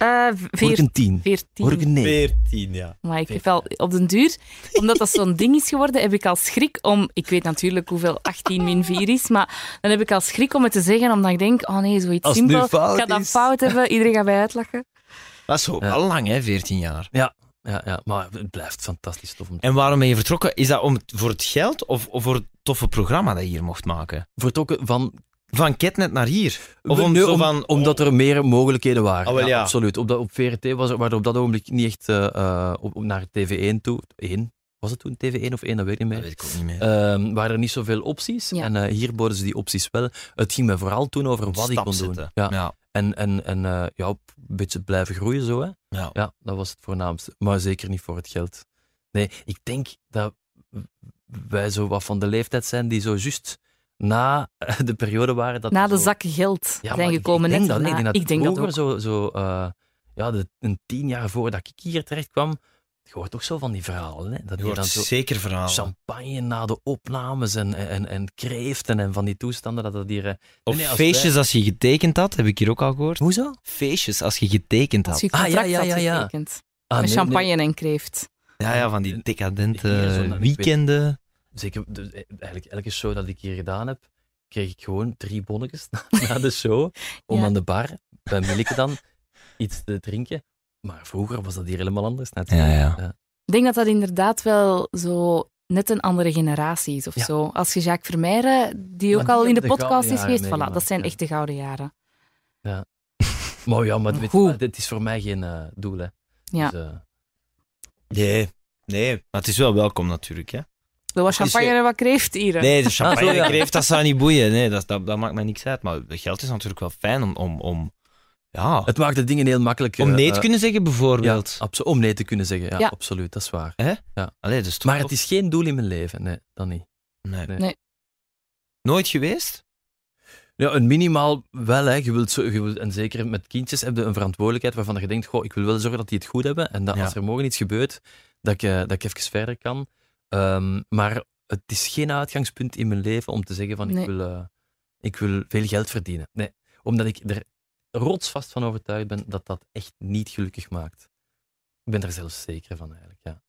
Speaker 5: Eh,
Speaker 2: Hoor ik
Speaker 5: veer-
Speaker 2: een tien? Hoor ik
Speaker 5: 14.
Speaker 2: een nee?
Speaker 4: 14, ja.
Speaker 5: Maar ik heb al op den duur, omdat dat zo'n ding is geworden, heb ik al schrik om. Ik weet natuurlijk hoeveel 18 min 4 is, maar dan heb ik al schrik om het te zeggen, omdat ik denk: oh nee, zoiets
Speaker 4: Als het nu
Speaker 5: simpel.
Speaker 4: fout
Speaker 5: ik ga dat
Speaker 4: is.
Speaker 5: fout hebben, iedereen gaat mij uitlachen.
Speaker 4: Dat is zo
Speaker 2: Ja.
Speaker 4: al lang, hè, 14 jaar.
Speaker 2: Ja, ja, maar het blijft fantastisch tof om te
Speaker 4: En waarom ben je vertrokken? Is dat om, het- voor het geld of, of voor het toffe programma dat je hier mocht maken?
Speaker 2: Vertrokken van...
Speaker 4: Van Ketnet naar hier. Of
Speaker 2: We-
Speaker 4: om,
Speaker 2: nee,
Speaker 4: zo
Speaker 2: om-
Speaker 4: van,
Speaker 2: Omdat er meer mogelijkheden waren.
Speaker 4: Ah, wel, ja.
Speaker 2: Absoluut. Op, dat, op VRT was er, waren er op dat ogenblik niet echt eh, eh, op, op- naar TV1 toe. 1? Was het toen TV1 of 1? Dat weet ik niet
Speaker 4: Dat
Speaker 2: meer.
Speaker 4: weet ik ook niet meer.
Speaker 2: Ehm, waren er niet zoveel opties.
Speaker 5: Ja.
Speaker 2: En eh, hier boden ze die opties wel. Het ging me vooral toen over wat ik
Speaker 4: Stap
Speaker 2: kon doen.
Speaker 4: zetten.
Speaker 2: Ja.
Speaker 4: Ja.
Speaker 2: En, en, en eh, ja, op een beetje blijven groeien zo. Hè.
Speaker 4: Ja.
Speaker 2: ja, dat was het voornaamste. Maar zeker niet voor het geld. Nee, ik denk dat wij zo wat van de leeftijd zijn die zo juist na eh, de periode waren dat...
Speaker 5: Na
Speaker 2: we
Speaker 5: de
Speaker 2: zo-
Speaker 5: zakken geld
Speaker 2: Ja, maar
Speaker 5: zijn
Speaker 2: ik-
Speaker 5: gekomen.
Speaker 2: ik denk
Speaker 5: net
Speaker 2: dat, nee,
Speaker 5: daarna.
Speaker 2: ik denk dat
Speaker 5: ik denk dat
Speaker 2: vroeger
Speaker 5: ook.
Speaker 2: zo, zo eh, ja, de, een tien jaar voordat ik hier terecht kwam, je hoort toch zo van die verhalen. Hè? Dat
Speaker 4: Je
Speaker 2: je dan
Speaker 4: hoort
Speaker 2: zo
Speaker 4: zeker verhalen.
Speaker 2: champagne na de opnames en, en, en kreeften en van die toestanden dat dat hier... eh,
Speaker 4: Of
Speaker 2: nee, als
Speaker 4: feestjes als je getekend had, heb ik hier ook al gehoord.
Speaker 2: Hoezo?
Speaker 4: Feestjes als je getekend
Speaker 5: Als
Speaker 4: had.
Speaker 5: je
Speaker 2: Ah, ja,
Speaker 5: contract
Speaker 2: ja,
Speaker 5: had
Speaker 2: ja, ja.
Speaker 5: getekend.
Speaker 2: Ah,
Speaker 5: Met
Speaker 2: nee, nee.
Speaker 5: champagne en kreeft.
Speaker 4: Ja, ja, van die
Speaker 2: Hier, zo,
Speaker 4: decadente
Speaker 2: dan, ik
Speaker 4: weekenden.
Speaker 2: Zeker, dus e- eigenlijk elke show dat ik hier gedaan heb, kreeg ik gewoon drie bonnetjes na, na de show om
Speaker 5: Ja.
Speaker 2: aan de bar, bij Milleke dan, iets te drinken. Maar vroeger was dat hier helemaal anders natuurlijk.
Speaker 4: Ja, ja.
Speaker 5: Ik denk dat dat inderdaad wel zo net een andere generatie is of
Speaker 2: Ja.
Speaker 5: zo. Als je Jacques Vermeijren, die
Speaker 2: Maar
Speaker 5: ook
Speaker 2: die
Speaker 5: al in de
Speaker 2: hebben de
Speaker 5: podcast
Speaker 2: gouden
Speaker 5: is geweest,
Speaker 2: jaren
Speaker 5: voilà, dat
Speaker 2: meegemaakt,
Speaker 5: zijn
Speaker 2: ja.
Speaker 5: echt de gouden jaren.
Speaker 2: Maar ja, maar dit,
Speaker 5: Goed.
Speaker 2: dit is voor mij geen eh, doel, hè.
Speaker 5: Ja.
Speaker 2: Dus, eh,
Speaker 4: Nee, nee. Maar het is wel welkom natuurlijk, hè.
Speaker 5: Er was
Speaker 4: Het is
Speaker 5: champagne en wat kreeft hier.
Speaker 4: Nee, de champagne
Speaker 2: Ah, zo, ja.
Speaker 4: kreeft, dat zou niet boeien. Nee, dat, dat, dat maakt mij niks uit. Maar het geld is natuurlijk wel fijn om... om, om ja,
Speaker 2: het maakt de dingen heel makkelijk. eh,
Speaker 4: om nee te
Speaker 2: eh,
Speaker 4: kunnen zeggen,
Speaker 2: ja,
Speaker 4: bijvoorbeeld.
Speaker 2: abso- om nee te kunnen zeggen, ja,
Speaker 5: Ja.
Speaker 2: absoluut, dat is waar.
Speaker 4: Allee, dus toch
Speaker 2: Maar het is geen doel in mijn leven, nee, dan niet.
Speaker 4: Nee.
Speaker 2: Nee.
Speaker 5: Nee.
Speaker 4: Nooit geweest?
Speaker 2: Ja, een minimaal wel. Hè. Je wilt zo, je wilt, en zeker met kindjes heb je een verantwoordelijkheid waarvan je denkt, goh, ik wil wel zorgen dat die het goed hebben. En dat
Speaker 4: Ja.
Speaker 2: als er morgen iets gebeurt, dat ik, eh, dat ik even verder kan. Ehm, maar het is geen uitgangspunt in mijn leven om te zeggen van,
Speaker 5: Nee.
Speaker 2: ik, wil, eh, ik wil veel geld verdienen. Nee, omdat ik er rotsvast van overtuigd ben dat dat echt niet gelukkig maakt. Ik ben er zelfs zeker van eigenlijk, ja.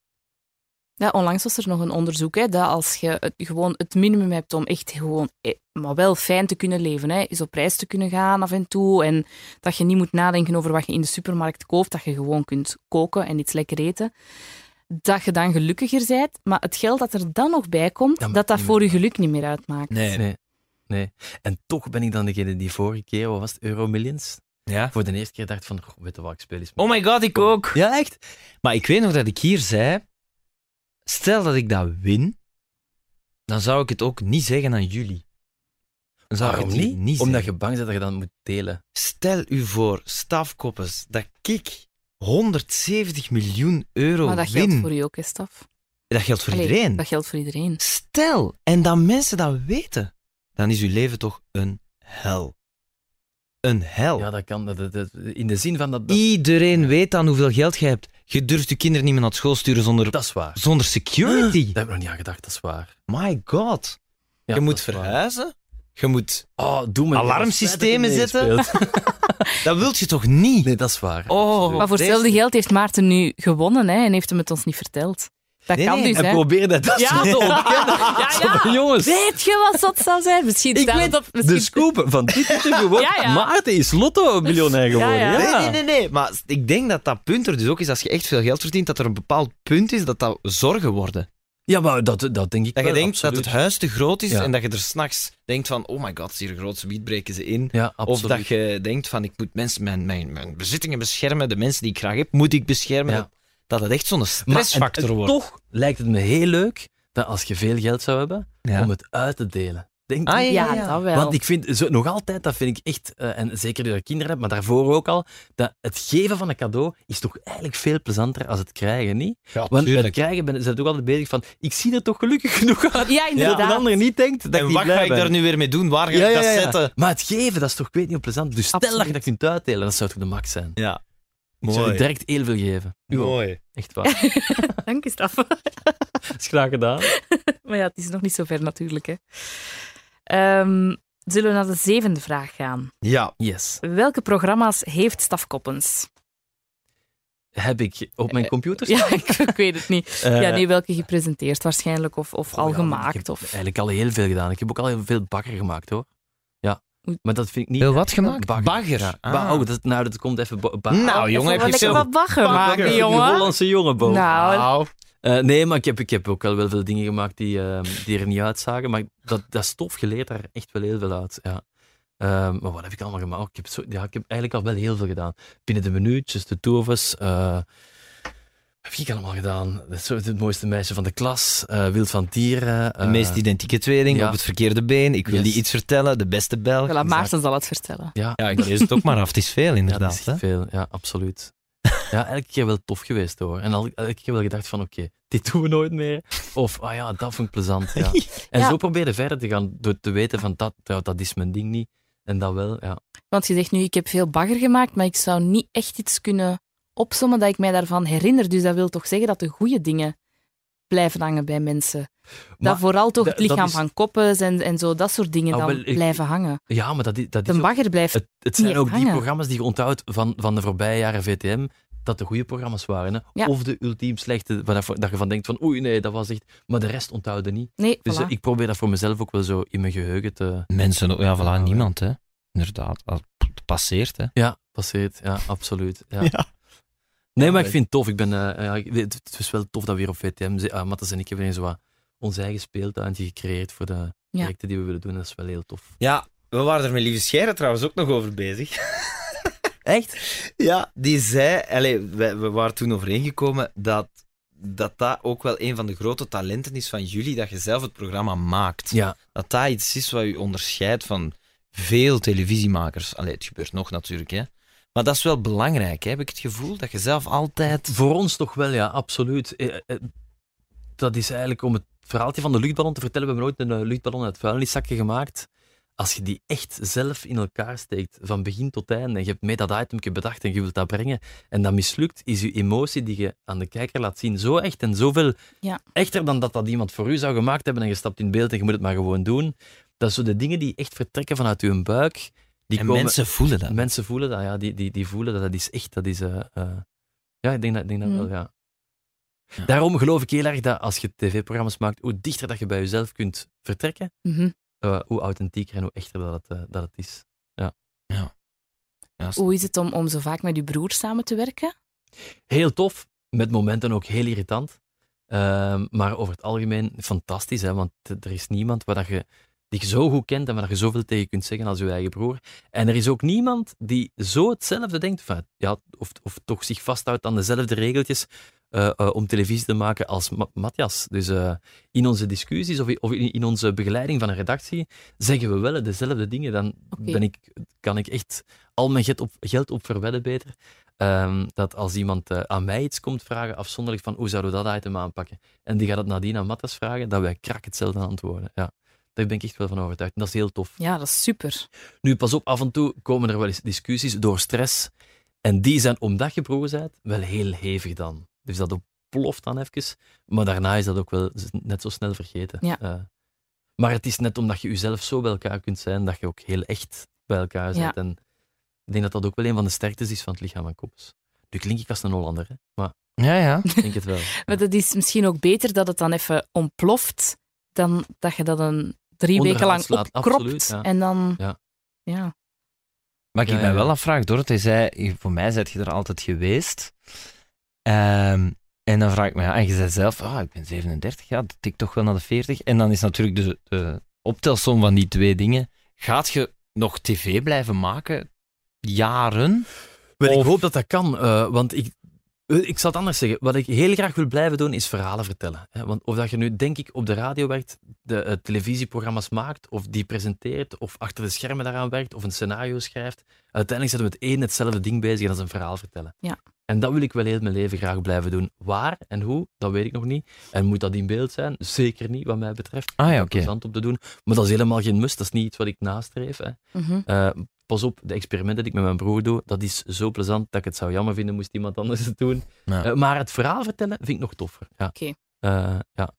Speaker 5: Ja, onlangs was er nog een onderzoek hè, dat als je het, gewoon het minimum hebt om echt gewoon, eh, maar wel fijn te kunnen leven, hè, is op reis te kunnen gaan af en toe en dat je niet moet nadenken over wat je in de supermarkt koopt, dat je gewoon kunt koken en iets lekker eten, dat je dan gelukkiger bent, maar het geld dat er dan nog bij komt,
Speaker 2: Dat
Speaker 5: dat
Speaker 2: maakt
Speaker 5: dat,
Speaker 2: niet
Speaker 5: voor
Speaker 2: meer
Speaker 5: je geluk niet meer uitmaakt.
Speaker 4: Nee.
Speaker 2: Nee. Nee. En toch ben ik dan degene die vorige keer, wat was het, Euromillions?
Speaker 4: Ja.
Speaker 2: Voor de eerste keer dacht van, goh, weet je wat, ik speel eens mee.
Speaker 4: Oh my god, ik ook. Ja, echt? Maar ik weet nog dat ik hier zei... Stel dat ik dat win, dan zou ik het ook niet zeggen aan jullie. Dan zou ik
Speaker 2: Waarom
Speaker 4: het hier
Speaker 2: niet?
Speaker 4: niet zeggen.
Speaker 2: Omdat je bang bent dat je dan moet delen.
Speaker 4: Stel u voor, stafkoppers, dat ik 170 miljoen euro
Speaker 5: Maar dat
Speaker 4: win.
Speaker 5: geldt voor je ook, hè, Staf?
Speaker 4: Dat geldt voor
Speaker 5: Allee,
Speaker 4: iedereen.
Speaker 5: Dat geldt voor iedereen.
Speaker 4: Stel, en dat mensen dat weten, dan is uw leven toch een hel. Een hel.
Speaker 2: Ja, dat kan. Dat, dat- dat- in de zin van dat. Dat,
Speaker 4: Iedereen weet dan hoeveel geld je hebt. Je durft je kinderen niet meer naar school sturen zonder,
Speaker 2: dat is waar.
Speaker 4: zonder security.
Speaker 2: Daar heb ik nog niet aan gedacht, dat is waar.
Speaker 4: My god.
Speaker 2: Ja,
Speaker 4: je
Speaker 2: dat
Speaker 4: moet
Speaker 2: is waar.
Speaker 4: verhuizen. Je moet...
Speaker 2: Oh, doe me
Speaker 4: Alarmsystemen
Speaker 2: zetten.
Speaker 4: Dat wilt je toch niet?
Speaker 2: Nee, dat is waar.
Speaker 4: Oh.
Speaker 5: Maar voor
Speaker 4: Deze-
Speaker 5: hetzelfde geld heeft Maarten nu gewonnen hè, en heeft hem het ons niet verteld. Dat
Speaker 4: Nee,
Speaker 5: kan
Speaker 4: nee,
Speaker 5: dus,
Speaker 2: En
Speaker 5: hè?
Speaker 2: probeer dat. dat
Speaker 5: Ja.
Speaker 2: te ontkennen. Zo, Jongens,
Speaker 5: Weet je wat dat zou zijn? Misschien
Speaker 2: ik
Speaker 5: staat
Speaker 2: weet
Speaker 5: het op.
Speaker 2: de scoop van dit interview wordt.
Speaker 5: Ja, ja.
Speaker 2: Maarten is lotto-miljonair geworden.
Speaker 5: Ja,
Speaker 2: Ja,
Speaker 5: ja.
Speaker 4: Nee, nee, nee, nee. Maar ik denk dat dat punt er dus ook is, als je echt veel geld verdient, dat er een bepaald punt is dat dat zorgen worden.
Speaker 2: Ja, maar dat, dat denk ik
Speaker 4: Dat je
Speaker 2: wel,
Speaker 4: denkt dat
Speaker 2: absoluut.
Speaker 4: het huis te groot is
Speaker 2: Ja.
Speaker 4: en dat je er s'nachts denkt van, oh my god, hier groot, bied breken ze in.
Speaker 2: Ja, absoluut.
Speaker 4: Of dat je denkt van, ik moet mensen, mijn, mijn, mijn bezittingen beschermen, de mensen die ik graag heb, moet ik beschermen.
Speaker 2: Ja.
Speaker 4: Dat- Dat het echt zo'n
Speaker 2: Maar-
Speaker 4: stressfactor
Speaker 2: en- en
Speaker 4: wordt.
Speaker 2: Toch lijkt het me heel leuk dat als je veel geld zou hebben,
Speaker 4: Ja.
Speaker 2: om het uit te delen. denk
Speaker 4: Ah,
Speaker 2: ik.
Speaker 4: ja, ja, ja.
Speaker 5: dat wel.
Speaker 2: Want ik vind zo, nog altijd, dat vind ik echt, eh, en zeker dat ik kinderen heb, maar daarvoor ook al, dat het geven van een cadeau is toch eigenlijk veel plezanter als het krijgen, niet?
Speaker 4: Ja,
Speaker 2: Want bij het
Speaker 4: tuurlijk.
Speaker 2: krijgen ben, zijn we toch altijd bezig van, ik zie er toch gelukkig genoeg uit.
Speaker 5: Ja,
Speaker 2: Dat een
Speaker 5: inderdaad.
Speaker 2: ander niet denkt dat ik
Speaker 4: En
Speaker 2: niet
Speaker 4: wat
Speaker 2: blij
Speaker 4: ga ik
Speaker 2: ben.
Speaker 4: daar nu weer mee doen? Waar ga
Speaker 2: Ja,
Speaker 4: ik
Speaker 2: ja,
Speaker 4: dat
Speaker 2: ja.
Speaker 4: zetten?
Speaker 2: Maar het geven, dat is toch, ik weet niet, plezant. Dus stel dat je dat
Speaker 5: Absoluut.
Speaker 2: kunt uitdelen, dat zou toch de max zijn.
Speaker 4: Ja.
Speaker 2: Ik zou je
Speaker 4: Mooi.
Speaker 2: direct heel veel geven. U ook.
Speaker 4: Mooi.
Speaker 2: Echt waar.
Speaker 5: Dank je, Staf.
Speaker 2: Dat is graag gedaan.
Speaker 5: maar ja, het is nog niet zo ver natuurlijk. Hè. Ehm, zullen we naar de zevende vraag gaan?
Speaker 4: Ja.
Speaker 2: Yes.
Speaker 5: Welke programma's heeft Staf Koppens?
Speaker 2: Heb ik op mijn computer
Speaker 5: Eh, Ja, ik, ik weet het niet.
Speaker 2: Eh,
Speaker 5: Ja, nee, welke gepresenteerd waarschijnlijk of, of
Speaker 2: goh,
Speaker 5: al
Speaker 2: Oh, ja, Ik
Speaker 5: gemaakt.
Speaker 2: heb
Speaker 5: Of...
Speaker 2: eigenlijk al heel veel gedaan. Ik heb ook al heel veel bakker gemaakt, hoor. Ja.
Speaker 5: Oei.
Speaker 2: Maar dat vind ik niet...
Speaker 6: Heel wat gemaakt?
Speaker 2: Bagger.
Speaker 6: Bagger.
Speaker 2: Ja.
Speaker 6: Ah.
Speaker 2: Ba- oh, dat, nou, dat komt even... bo- ba-
Speaker 6: Nou,
Speaker 5: Even
Speaker 6: jongen,
Speaker 5: wel
Speaker 6: heb je
Speaker 5: lekker
Speaker 6: zelf...
Speaker 5: wat bagger maken,
Speaker 2: Een
Speaker 5: jongen.
Speaker 2: Hollandse jongen, Bo.
Speaker 5: Nou,
Speaker 2: Eh, nee, maar ik heb, ik heb ook wel, wel veel dingen gemaakt die, ehm, die er niet uitzagen. Maar dat, dat stof geleerd daar echt wel heel veel uit. Ja. Ehm, maar wat heb ik allemaal gemaakt? Ik heb, zo, ja, ik heb eigenlijk al wel heel veel gedaan. Binnen de minuutjes, de toevers. eh wat heb ik allemaal gedaan? Dat is zo het mooiste meisje van de klas. eh, Wild van Dieren.
Speaker 4: De meest
Speaker 2: eh,
Speaker 4: identieke tweeling
Speaker 2: ja.
Speaker 4: op het verkeerde been. Ik wil
Speaker 2: Yes.
Speaker 4: die iets vertellen. De beste Belg.
Speaker 5: voilà, Maarten zal het vertellen.
Speaker 2: ja,
Speaker 4: Ja, ik lees het ook maar af. Het is veel,
Speaker 2: Ja, dat
Speaker 4: inderdaad.
Speaker 2: is echt veel. Ja, absoluut. Ja, elke keer wel tof geweest hoor. En al- elke keer wel gedacht van oké, dit doen we nooit meer. Of ah ja, dat vond ik plezant. Ja. En
Speaker 5: Ja.
Speaker 2: zo proberen verder te gaan door te weten van dat, dat, dat is mijn ding niet. En dat wel, ja.
Speaker 5: Want je zegt nu, ik heb veel bagger gemaakt, maar ik zou niet echt iets kunnen opzommen dat ik mij daarvan herinner. Dus dat wil toch zeggen dat de goede dingen blijven hangen bij mensen.
Speaker 2: Maar-
Speaker 5: dat vooral toch
Speaker 2: da-
Speaker 5: het lichaam
Speaker 2: dat is-
Speaker 5: van koppens en, en zo, dat soort dingen
Speaker 2: Ah,
Speaker 5: dan
Speaker 2: wel, ik-
Speaker 5: blijven hangen.
Speaker 2: Ja, maar dat, i- dat is
Speaker 5: De
Speaker 2: ook-
Speaker 5: bagger blijft...
Speaker 2: het, het zijn
Speaker 5: niet
Speaker 2: ook die
Speaker 5: hangen.
Speaker 2: programma's die je onthoudt van, van de voorbije jaren VTM, dat de goede programma's waren. Hè?
Speaker 5: Ja.
Speaker 2: Of de ultiem slechte, waarvan- dat je van denkt van oei nee, dat was echt... Maar de rest onthouden niet.
Speaker 5: Nee,
Speaker 2: Dus
Speaker 5: voilà.
Speaker 2: eh, ik probeer dat voor mezelf ook wel zo in mijn geheugen te...
Speaker 4: Mensen, ja,
Speaker 2: Ja, ja.
Speaker 4: voilà, niemand, hè. Inderdaad. Als het passeert, hè.
Speaker 2: Ja, passeert. Ja, absoluut. Ja.
Speaker 4: Ja.
Speaker 2: Nee, maar
Speaker 4: maar
Speaker 2: ik vind het tof. Ik ben, eh, ja, ik weet- het is wel tof dat we hier op VTM zitten. Ah, Mattes en ik hebben hier zo wat ons eigen speeltuintje gecreëerd voor de projecten die we willen doen. Dat is wel heel tof.
Speaker 4: Ja, we waren er met Lieve Scheire trouwens ook nog over bezig. Echt? Ja, die zei... Allee, we, we waren toen overeengekomen dat, dat dat ook wel een van de grote talenten is van jullie, dat je zelf het programma maakt.
Speaker 2: Ja,
Speaker 4: Dat dat iets is wat je onderscheidt van veel televisiemakers. Allee, het gebeurt nog natuurlijk, hè. Maar dat is wel belangrijk, hè, heb ik het gevoel, dat je zelf altijd...
Speaker 2: voor ons toch wel, ja, absoluut. Eh, eh, Dat is eigenlijk om het verhaaltje van de luchtballon te vertellen. We hebben nooit een eh, luchtballon uit vuilniszakje gemaakt. Als je die echt zelf in elkaar steekt, van begin tot einde, en je hebt mee dat itemje bedacht en je wilt dat brengen, en dat mislukt, is je emotie die je aan de kijker laat zien zo echt en zoveel
Speaker 5: Ja.
Speaker 2: echter dan dat dat iemand voor u zou gemaakt hebben en je stapt in beeld en je moet het maar gewoon doen. Dat zijn de dingen die echt vertrekken vanuit je buik. Die
Speaker 4: en
Speaker 2: komen,
Speaker 4: mensen voelen dat.
Speaker 2: mensen voelen dat, ja. Die, die, die voelen dat, dat is echt, dat is... eh, eh, ja, ik denk dat, ik denk dat
Speaker 5: Mm.
Speaker 2: wel, ja.
Speaker 4: Ja.
Speaker 2: Daarom geloof ik heel erg dat als je tv-programma's maakt, hoe dichter dat je bij jezelf kunt vertrekken,
Speaker 5: Mhm.
Speaker 2: eh, hoe authentieker en hoe echter dat het, eh, dat het is.
Speaker 4: Ja, dat is-
Speaker 5: Hoe is het om, om zo vaak met uw broer samen te werken?
Speaker 2: Heel tof, met momenten ook heel irritant. Ehm, maar over het algemeen fantastisch, hè, want eh, er is niemand waar dat je, die je zo goed kent en waar dat je zoveel tegen kunt zeggen als je eigen broer. En er is ook niemand die zo hetzelfde denkt, van, ja, of, of toch zich vasthoudt aan dezelfde regeltjes eh, eh, om televisie te maken als Ma- Matthias. Dus eh, in onze discussies of, i- of in, in onze begeleiding van een redactie zeggen we wel dezelfde dingen. Dan
Speaker 5: Oké.
Speaker 2: ben ik, kan ik echt al mijn geld op, geld op verwedden beter. Ehm, dat als iemand eh, aan mij iets komt vragen, afzonderlijk van hoe zouden we dat item aanpakken, en die gaat het nadien aan Matthias vragen, dat wij krak hetzelfde antwoorden. Ja. Daar ben ik echt wel van overtuigd. En dat is heel tof.
Speaker 5: Ja, dat is super.
Speaker 2: Nu, pas op, af en toe komen er wel eens discussies door stress. En die zijn, omdat je broer bent, wel heel hevig dan. Dus dat ontploft dan even. Maar daarna is dat ook wel z- net zo snel vergeten.
Speaker 5: Ja.
Speaker 2: Eh, maar het is net omdat je jezelf zo bij elkaar kunt zijn, dat je ook heel echt bij elkaar
Speaker 5: Ja.
Speaker 2: bent. En ik denk dat dat ook wel een van de sterktes is van het lichaam van koppels. Nu klink ik als een Hollander, hè? maar
Speaker 4: Ja, ja.
Speaker 2: ik denk het wel.
Speaker 5: Maar dat is misschien ook beter dat het dan even ontploft, dan dat je dat een drie
Speaker 2: Onderaan
Speaker 5: weken lang
Speaker 2: slaat,
Speaker 5: opkropt.
Speaker 2: absoluut, ja.
Speaker 5: En dan...
Speaker 2: Ja.
Speaker 5: ja.
Speaker 4: Maar ik
Speaker 2: Ja,
Speaker 4: mij
Speaker 2: ja.
Speaker 4: wel afvraag, Dorothee zei, voor mij ben je er altijd geweest. Ehm, en dan vraag ik me, ja, en je zei zelf, ah, ik ben 37, ja, dat tikt toch wel naar de 40. En dan is natuurlijk de, de optelsom van die twee dingen. Gaat je nog tv blijven maken? Jaren?
Speaker 2: Wel, ik
Speaker 4: Of-
Speaker 2: hoop dat dat kan, eh, want ik, Eh, Ik zal het anders zeggen. Wat ik heel graag wil blijven doen, is verhalen vertellen. hè. Want of dat je nu, denk ik, op de radio werkt, de eh, televisieprogramma's maakt, of die presenteert, of achter de schermen daaraan werkt, of een scenario schrijft. Uiteindelijk zijn we met één hetzelfde ding bezig en dat is een verhaal vertellen.
Speaker 5: Ja.
Speaker 2: En dat wil ik wel heel mijn leven graag blijven doen. Waar en hoe, dat weet ik nog niet. En moet dat in beeld zijn? Zeker niet, wat mij betreft.
Speaker 6: Ah ja,
Speaker 2: Ik heb er
Speaker 6: oké.
Speaker 2: zand op te doen. Maar dat is helemaal geen must. Dat is niet iets wat ik nastreef. Hè.
Speaker 5: Mhm.
Speaker 2: Eh, pas op, de experimenten die ik met mijn broer doe, dat is zo plezant dat ik het zou jammer vinden moest iemand anders het doen.
Speaker 6: Ja.
Speaker 2: Eh, maar het verhaal vertellen vind ik nog toffer. Ja.
Speaker 5: Oké.
Speaker 2: Eh, ja.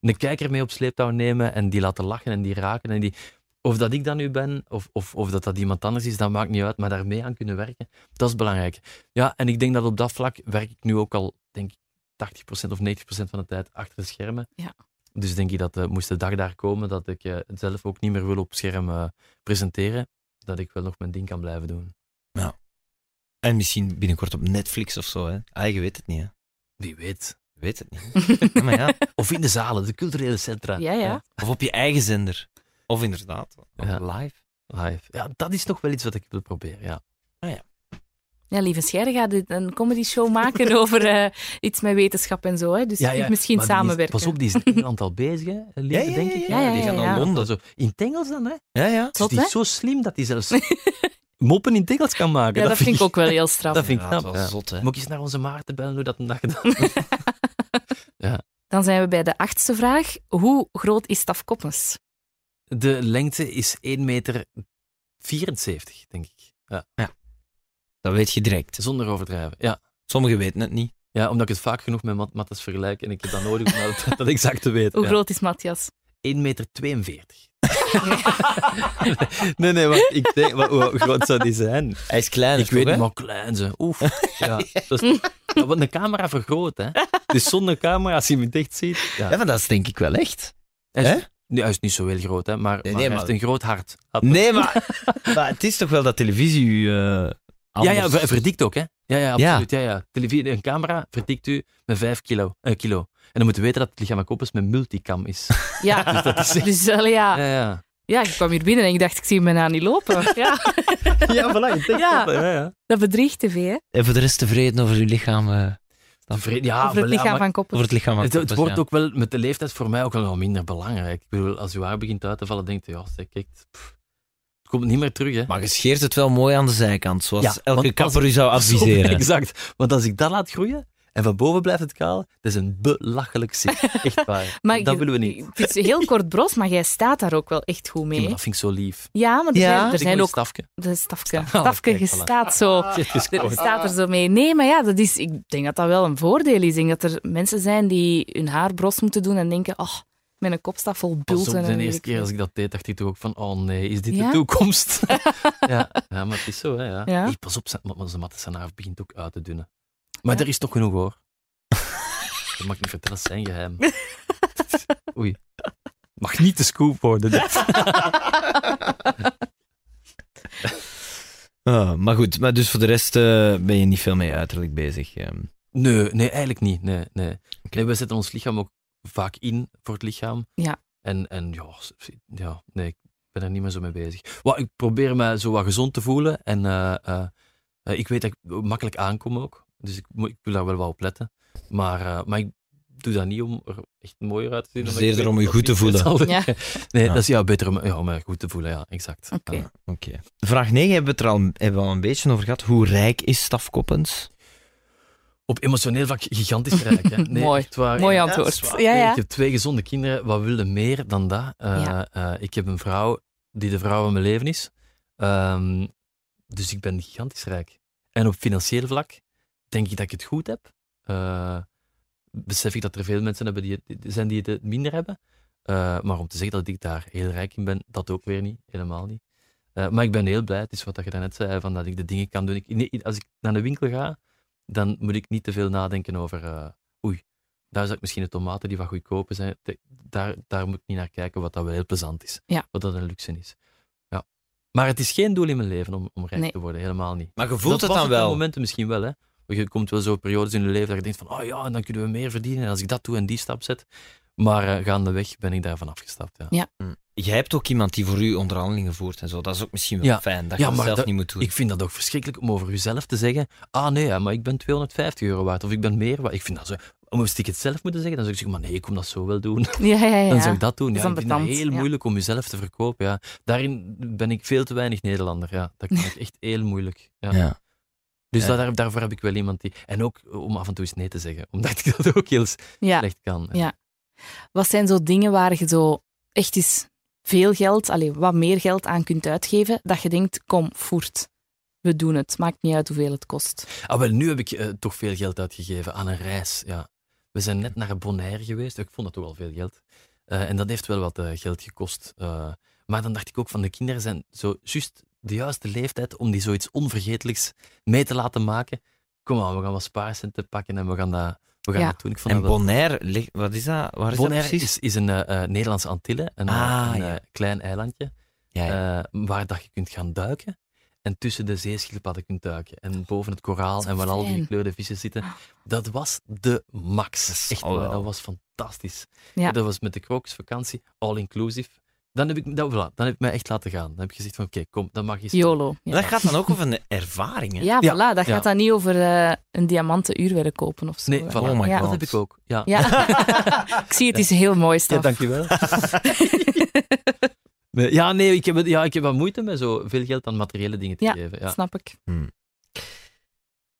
Speaker 2: Een kijker mee op sleeptouw nemen en die laten lachen en die raken. En die... Of dat ik dat nu ben, of, of, of dat dat iemand anders is, dat maakt niet uit. Maar daarmee aan kunnen werken, dat is belangrijk. Ja, en ik denk dat op dat vlak werk ik nu ook al, denk ik, 80% of 90% van de tijd achter de schermen.
Speaker 5: Ja.
Speaker 2: Dus denk ik dat eh, moest de dag daar komen dat ik eh, het zelf ook niet meer wil op scherm eh, presenteren, dat ik wel nog mijn ding kan blijven doen.
Speaker 4: En misschien binnenkort op Netflix of zo, hè. Ah, je weet het niet, hè.
Speaker 2: Wie weet.
Speaker 4: Je weet het niet. Ja, maar ja.
Speaker 2: Of in de zalen, de culturele centra.
Speaker 5: Ja, ja.
Speaker 4: Of op je eigen zender. Of inderdaad,
Speaker 2: Ja.
Speaker 4: live.
Speaker 2: Live. Ja, dat is nog wel iets wat ik wil proberen, ja.
Speaker 5: Ja, lieve Scherre gaat dit een comedy show maken over eh, iets met wetenschap en zo. Hè. Dus
Speaker 2: ja,
Speaker 5: je
Speaker 2: ja,
Speaker 5: kunt misschien
Speaker 2: maar die is-
Speaker 5: samenwerken.
Speaker 2: Pas op, die is in Engeland al bezig, hè? Lieve,
Speaker 4: Ja, ja, ja,
Speaker 2: denk ik.
Speaker 4: ja,
Speaker 5: ja,
Speaker 2: die
Speaker 5: ja,
Speaker 2: gaat
Speaker 5: ja.
Speaker 2: naar Londen. Zo. In het Engels dan, hè?
Speaker 4: Ja, ja.
Speaker 2: Dus
Speaker 5: Zot,
Speaker 2: die
Speaker 5: hè?
Speaker 2: is zo slim dat hij zelfs moppen in het Engels kan maken.
Speaker 5: Ja, dat vind ik ook wel heel straf.
Speaker 2: Dat vind ik
Speaker 4: Ja,
Speaker 2: knap.
Speaker 4: het
Speaker 2: ja.
Speaker 4: was zot, hè.
Speaker 2: Moet ik eens naar onze Maarten bellen hoe dat een dag gedaan is?
Speaker 5: Dan zijn we bij de achtste vraag. Hoe groot is Staf Koppens?
Speaker 2: De lengte is 1 meter 74, denk ik. Ja,
Speaker 4: Dat weet je direct.
Speaker 2: zonder overdrijven. Ja.
Speaker 4: Sommigen weten het niet.
Speaker 2: ja, omdat ik het vaak genoeg met mat mattes vergelijk en ik heb dat nodig om dat, dat exact te weten.
Speaker 5: Hoe
Speaker 2: Ja.
Speaker 5: groot is Matthias?
Speaker 2: 1 meter 42. nee, nee, maar ik denk, maar hoe groot zou die zijn?
Speaker 4: Hij is klein,
Speaker 2: ik weet niet, maar klein ze. Oef. Ja, dat is, ja, want een camera vergroot, hè. Dus zonder camera, als je hem dicht ziet... Ja.
Speaker 4: Ja, maar dat is denk ik wel echt.
Speaker 2: Hij, is,
Speaker 4: Hè?
Speaker 2: nee, hij is niet zo heel groot, hè, maar,
Speaker 4: nee,
Speaker 2: maar hij
Speaker 4: maar-
Speaker 2: heeft een groot hart. Had-
Speaker 4: Nee, maar, maar het is toch wel dat televisie u... eh,
Speaker 2: Ja,
Speaker 4: anders-
Speaker 2: ja, ver- verdikt ook, hè. Ja, ja,
Speaker 4: Ja.
Speaker 2: absoluut. Ja. Ja, Televisie, een camera verdikt u met 5 kilo, eh, kilo. En dan moeten we weten dat het lichaam koppels met multicam is.
Speaker 5: Ja, dus, allee, ja.
Speaker 2: Ja, ja.
Speaker 5: ja, ik kwam hier binnen en ik dacht, ik zie mijn aan niet lopen. Ja,
Speaker 2: Ja, voilà, je denkt
Speaker 5: Ja.
Speaker 2: dat, hè, ja.
Speaker 5: dat bedriegt tv, hè?
Speaker 4: En voor de rest tevreden over uw lichaam. eh,
Speaker 2: Dan vre- ja,
Speaker 5: Over het
Speaker 2: Ah, voilà, maar-
Speaker 5: lichaam van Koppens.
Speaker 4: over het lichaam. van
Speaker 2: Het, het
Speaker 4: Koppers,
Speaker 2: wordt
Speaker 5: dus,
Speaker 4: ja.
Speaker 2: ook wel met de leeftijd voor mij ook wel wat minder belangrijk. Ik bedoel, als je haar begint uit te vallen, denk je, ja, zeg, kijk, pff, het komt niet meer terug, hè.
Speaker 4: Maar je scheert het wel mooi aan de zijkant, zoals
Speaker 2: Ja, want
Speaker 4: elke
Speaker 2: als
Speaker 4: kapper u zou adviseren.
Speaker 2: exact. Want als ik dat laat groeien en van boven blijft het kaal, dat is een belachelijk zicht. Echt waar.
Speaker 5: Maar
Speaker 2: dat
Speaker 5: je-
Speaker 2: willen we niet.
Speaker 5: Het is heel kort bros, maar jij staat daar ook wel echt goed
Speaker 2: Ja,
Speaker 5: mee.
Speaker 2: maar
Speaker 5: hè?
Speaker 2: dat vind ik zo lief.
Speaker 5: Ja, maar er
Speaker 4: Ja.
Speaker 5: zijn, er
Speaker 2: Dus ik
Speaker 5: zijn
Speaker 2: wil
Speaker 5: ook...
Speaker 2: stafken.
Speaker 5: De stafke.
Speaker 2: Ah,
Speaker 5: Stafke,
Speaker 2: kijk,
Speaker 5: je
Speaker 2: voilà. Ah.
Speaker 5: staat zo... Je staat er zo mee. Nee, maar ja, dat is, ik denk dat dat wel een voordeel is. Ik denk dat er mensen zijn die hun haar bros moeten doen en denken, oh, met een kopstaf vol
Speaker 2: Pas
Speaker 5: bulten.
Speaker 2: op,
Speaker 5: en
Speaker 2: de
Speaker 5: weet
Speaker 2: eerste
Speaker 5: ik
Speaker 2: keer
Speaker 5: veel."
Speaker 2: als ik dat deed, dacht ik toch ook van, oh nee, is dit
Speaker 5: Ja?
Speaker 2: de toekomst? ja. ja, maar het is zo, hè. Ja.
Speaker 5: Ja.
Speaker 2: Hey, pas op, zijn- want onze matte zijn haar begint ook uit te dunnen. Maar er is toch genoeg, hoor. dat mag ik niet vertellen, dat is zijn geheim. Oei. Mag niet de scoop worden. dit.
Speaker 4: Ah, maar goed, maar dus voor de rest eh, ben je niet veel mee uiterlijk bezig. ehm.
Speaker 2: Nee, nee, eigenlijk niet. Nee, nee. nee, we zetten ons lichaam ook vaak in voor het lichaam.
Speaker 5: Ja.
Speaker 2: En, en ja, s- s- ja, nee, ik ben er niet meer zo mee bezig. Wel, ik probeer me zo wat gezond te voelen. En eh, eh, eh, ik weet dat ik makkelijk aankom ook. Dus ik, moet- ik wil daar wel wat op letten. Maar, eh, maar ik doe dat niet om er echt mooier uit te zien.
Speaker 4: Dus
Speaker 2: omdat ik
Speaker 4: eerder
Speaker 2: weet
Speaker 4: om je
Speaker 2: dat
Speaker 4: goed te
Speaker 2: niet het
Speaker 4: voelen.
Speaker 2: zal-
Speaker 5: Ja.
Speaker 2: Nee,
Speaker 4: Ja.
Speaker 2: dat is ja, beter om, ja, om me goed te voelen. Ja, exact.
Speaker 5: Oké.
Speaker 2: Ja.
Speaker 4: Oké. Vraag 9 hebben we het er al, hebben we al een beetje over gehad. Hoe rijk is Stafkoppens?
Speaker 2: Op emotioneel vlak gigantisch rijk. Hè? Nee,
Speaker 5: Mooi.
Speaker 2: echt waar.
Speaker 5: Mooi
Speaker 2: Ja,
Speaker 5: antwoord.
Speaker 2: dat is waar.
Speaker 5: Ja, ja.
Speaker 2: Ik heb twee gezonde kinderen. Wat wilde meer dan dat? Eh, eh, ik heb een vrouw die de vrouw van mijn leven is. Ehm, dus ik ben gigantisch rijk. En op financieel vlak denk ik dat ik het goed heb. Eh, besef ik dat er veel mensen hebben die het, die- zijn die het minder hebben. Eh, maar om te zeggen dat ik daar heel rijk in ben, dat ook weer niet. Helemaal niet. Eh, maar ik ben heel blij. Het is wat dat je daarnet zei, van dat ik de dingen kan doen. Ik, nee, als ik naar de winkel ga, dan moet ik niet te veel nadenken over... eh, oei, daar zou ik misschien de tomaten die wat goedkoper zijn. te- daar, daar moet ik niet naar kijken, wat dat wel heel plezant is.
Speaker 5: Ja.
Speaker 2: Wat dat een luxe is. Ja. Maar het is geen doel in mijn leven om, om rijk
Speaker 5: Nee.
Speaker 2: te worden. Helemaal niet.
Speaker 4: Maar je
Speaker 2: Dat was op die momenten misschien wel, hè. Je komt wel zo periodes in je leven dat je denkt van, oh ja, en dan kunnen we meer verdienen en als ik dat doe en die stap zet. Maar eh, gaandeweg ben ik daarvan afgestapt, ja.
Speaker 5: Ja.
Speaker 4: Jij hebt ook iemand die voor u onderhandelingen voert en zo. Dat is ook misschien wel
Speaker 2: Ja.
Speaker 4: fijn,
Speaker 2: Ja,
Speaker 4: dat je dat
Speaker 2: maar
Speaker 4: zelf
Speaker 2: dat-
Speaker 4: niet moet doen.
Speaker 2: Ik vind dat ook verschrikkelijk om over jezelf te zeggen: ah nee, ja, maar ik ben 250 euro waard of ik ben meer waard. Ik vind dat zo. Moest ik het zelf moeten zeggen, dan zou ik zeggen: maar nee, ik kom dat zo wel doen.
Speaker 5: Ja, ja, ja.
Speaker 2: Dan zou ik dat doen.
Speaker 5: Dat
Speaker 2: Ja,
Speaker 5: is
Speaker 2: ik vind dat
Speaker 5: ambetant,
Speaker 2: heel
Speaker 5: ja.
Speaker 2: moeilijk om jezelf te verkopen. Ja. Daarin ben ik veel te weinig Nederlander. Ja. Dat kan ik echt heel moeilijk. Ja.
Speaker 4: Ja.
Speaker 2: Dus
Speaker 4: Ja.
Speaker 2: daar, daarvoor heb ik wel iemand die. En ook om af en toe eens nee te zeggen, omdat ik dat ook heel
Speaker 5: Ja.
Speaker 2: slecht kan.
Speaker 5: Ja. Wat zijn zo dingen waar je zo echt eens veel geld, allee, wat meer geld aan kunt uitgeven, dat je denkt, kom, voert. We doen het. Maakt niet uit hoeveel het kost.
Speaker 2: Ah, wel, nu heb ik eh, toch veel geld uitgegeven aan een reis. Ja. We zijn net naar Bonaire geweest. Ik vond dat toch al veel geld. Eh, en dat heeft wel wat eh, geld gekost. Eh, maar dan dacht ik ook van de kinderen zijn zo juist de juiste leeftijd om die zoiets onvergetelijks mee te laten maken. Kom aan, we gaan wat spaarcenten pakken en we gaan dat, we gaan
Speaker 5: Ja.
Speaker 2: dat doen. Ik vond
Speaker 4: En
Speaker 2: dat wel-
Speaker 4: Bonaire, ligt- wat is dat? Waar is dat
Speaker 2: Bonaire
Speaker 4: precies?
Speaker 2: is, is een eh, eh, Nederlandse Antille, een, eh,
Speaker 4: Ah,
Speaker 2: een
Speaker 4: ja.
Speaker 2: eh, klein eilandje,
Speaker 4: Ja, ja.
Speaker 2: eh, waar dat je kunt gaan duiken en tussen de zeeschildpadden kunt duiken en boven het koraal
Speaker 5: Zo
Speaker 2: en waar al die
Speaker 5: Oh, fijn. Ah.
Speaker 2: gekleurde vissen zitten. Dat was de
Speaker 4: Dat
Speaker 2: max.
Speaker 4: is-
Speaker 2: Echt
Speaker 4: oh,
Speaker 2: waar,
Speaker 4: wow.
Speaker 2: dat was fantastisch.
Speaker 5: Ja.
Speaker 2: Dat was met de krokusvakantie, all inclusive. Dan heb ik, dat, voilà, dan heb ik mij echt laten gaan. Dan heb ik gezegd van, oké, kom, dan mag je...
Speaker 5: YOLO. Ja,
Speaker 4: Dat gaat dan ook over een ervaring, hè?
Speaker 5: ja,
Speaker 2: Ja.
Speaker 5: voilà. Dat
Speaker 2: Ja.
Speaker 5: gaat dan niet over eh, een diamanten uurwerk kopen of zo.
Speaker 2: Nee,
Speaker 5: hè.
Speaker 2: voilà,
Speaker 4: Oh my
Speaker 5: Ja.
Speaker 2: dat
Speaker 4: god.
Speaker 2: heb ik ook. Ja,
Speaker 5: Ja. ik zie het, het is heel mooi, Stef.
Speaker 2: dankjewel. ja, nee, ik heb, ja, ik heb wat moeite met zo veel geld aan materiële dingen te
Speaker 5: Ja,
Speaker 2: geven. Ja.
Speaker 5: Snap ik.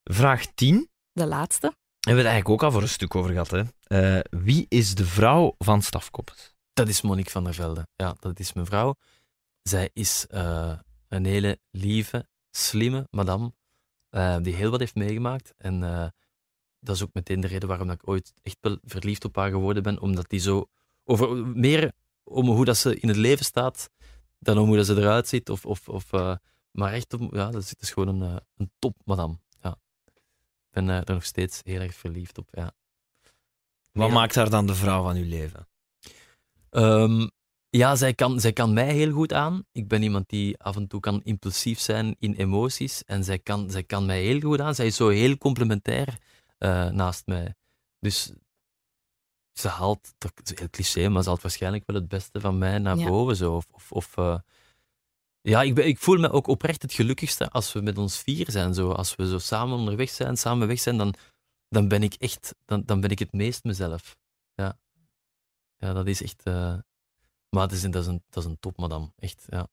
Speaker 4: Vraag 10.
Speaker 5: De laatste.
Speaker 4: Hebben we het eigenlijk ook al voor een stuk over gehad, hè? Eh, wie is de vrouw van Stafkoppers?
Speaker 2: Dat is Monique van der Velde. Ja, dat is mijn vrouw. Zij is eh, een hele lieve, slimme madame, eh, die heel wat heeft meegemaakt. En eh, dat is ook meteen de reden waarom dat ik ooit echt wel verliefd op haar geworden ben, omdat die zo... Over, meer om hoe dat ze in het leven staat, dan om hoe dat ze eruit ziet. Of, of, of, eh, maar echt, om, ja, dat is, dat is gewoon een, eh, een top madame. Ja. Ik ben eh, er nog steeds heel erg verliefd op, ja.
Speaker 4: Wat
Speaker 2: Ja.
Speaker 4: maakt haar dan de vrouw van uw leven?
Speaker 2: Ehm, ja, zij kan, zij kan mij heel goed aan. Ik ben iemand die af en toe kan impulsief zijn in emoties. En zij kan, zij kan mij heel goed aan. Zij is zo heel complementair eh, naast mij. Dus ze haalt, dat is heel cliché, maar ze haalt waarschijnlijk wel het beste van mij naar
Speaker 5: Ja.
Speaker 2: boven. Zo. Of, of, of, eh, ja, ik, ben, ik voel me ook oprecht het gelukkigste als we met ons vier zijn. Zo. Als we zo samen onderweg zijn, samen weg zijn, dan, dan ben ik echt, dan, dan ben ik het meest mezelf. Ja, ja dat is echt. eh, maar het is, een- dat, is een, dat is een top, madame. Echt, ja.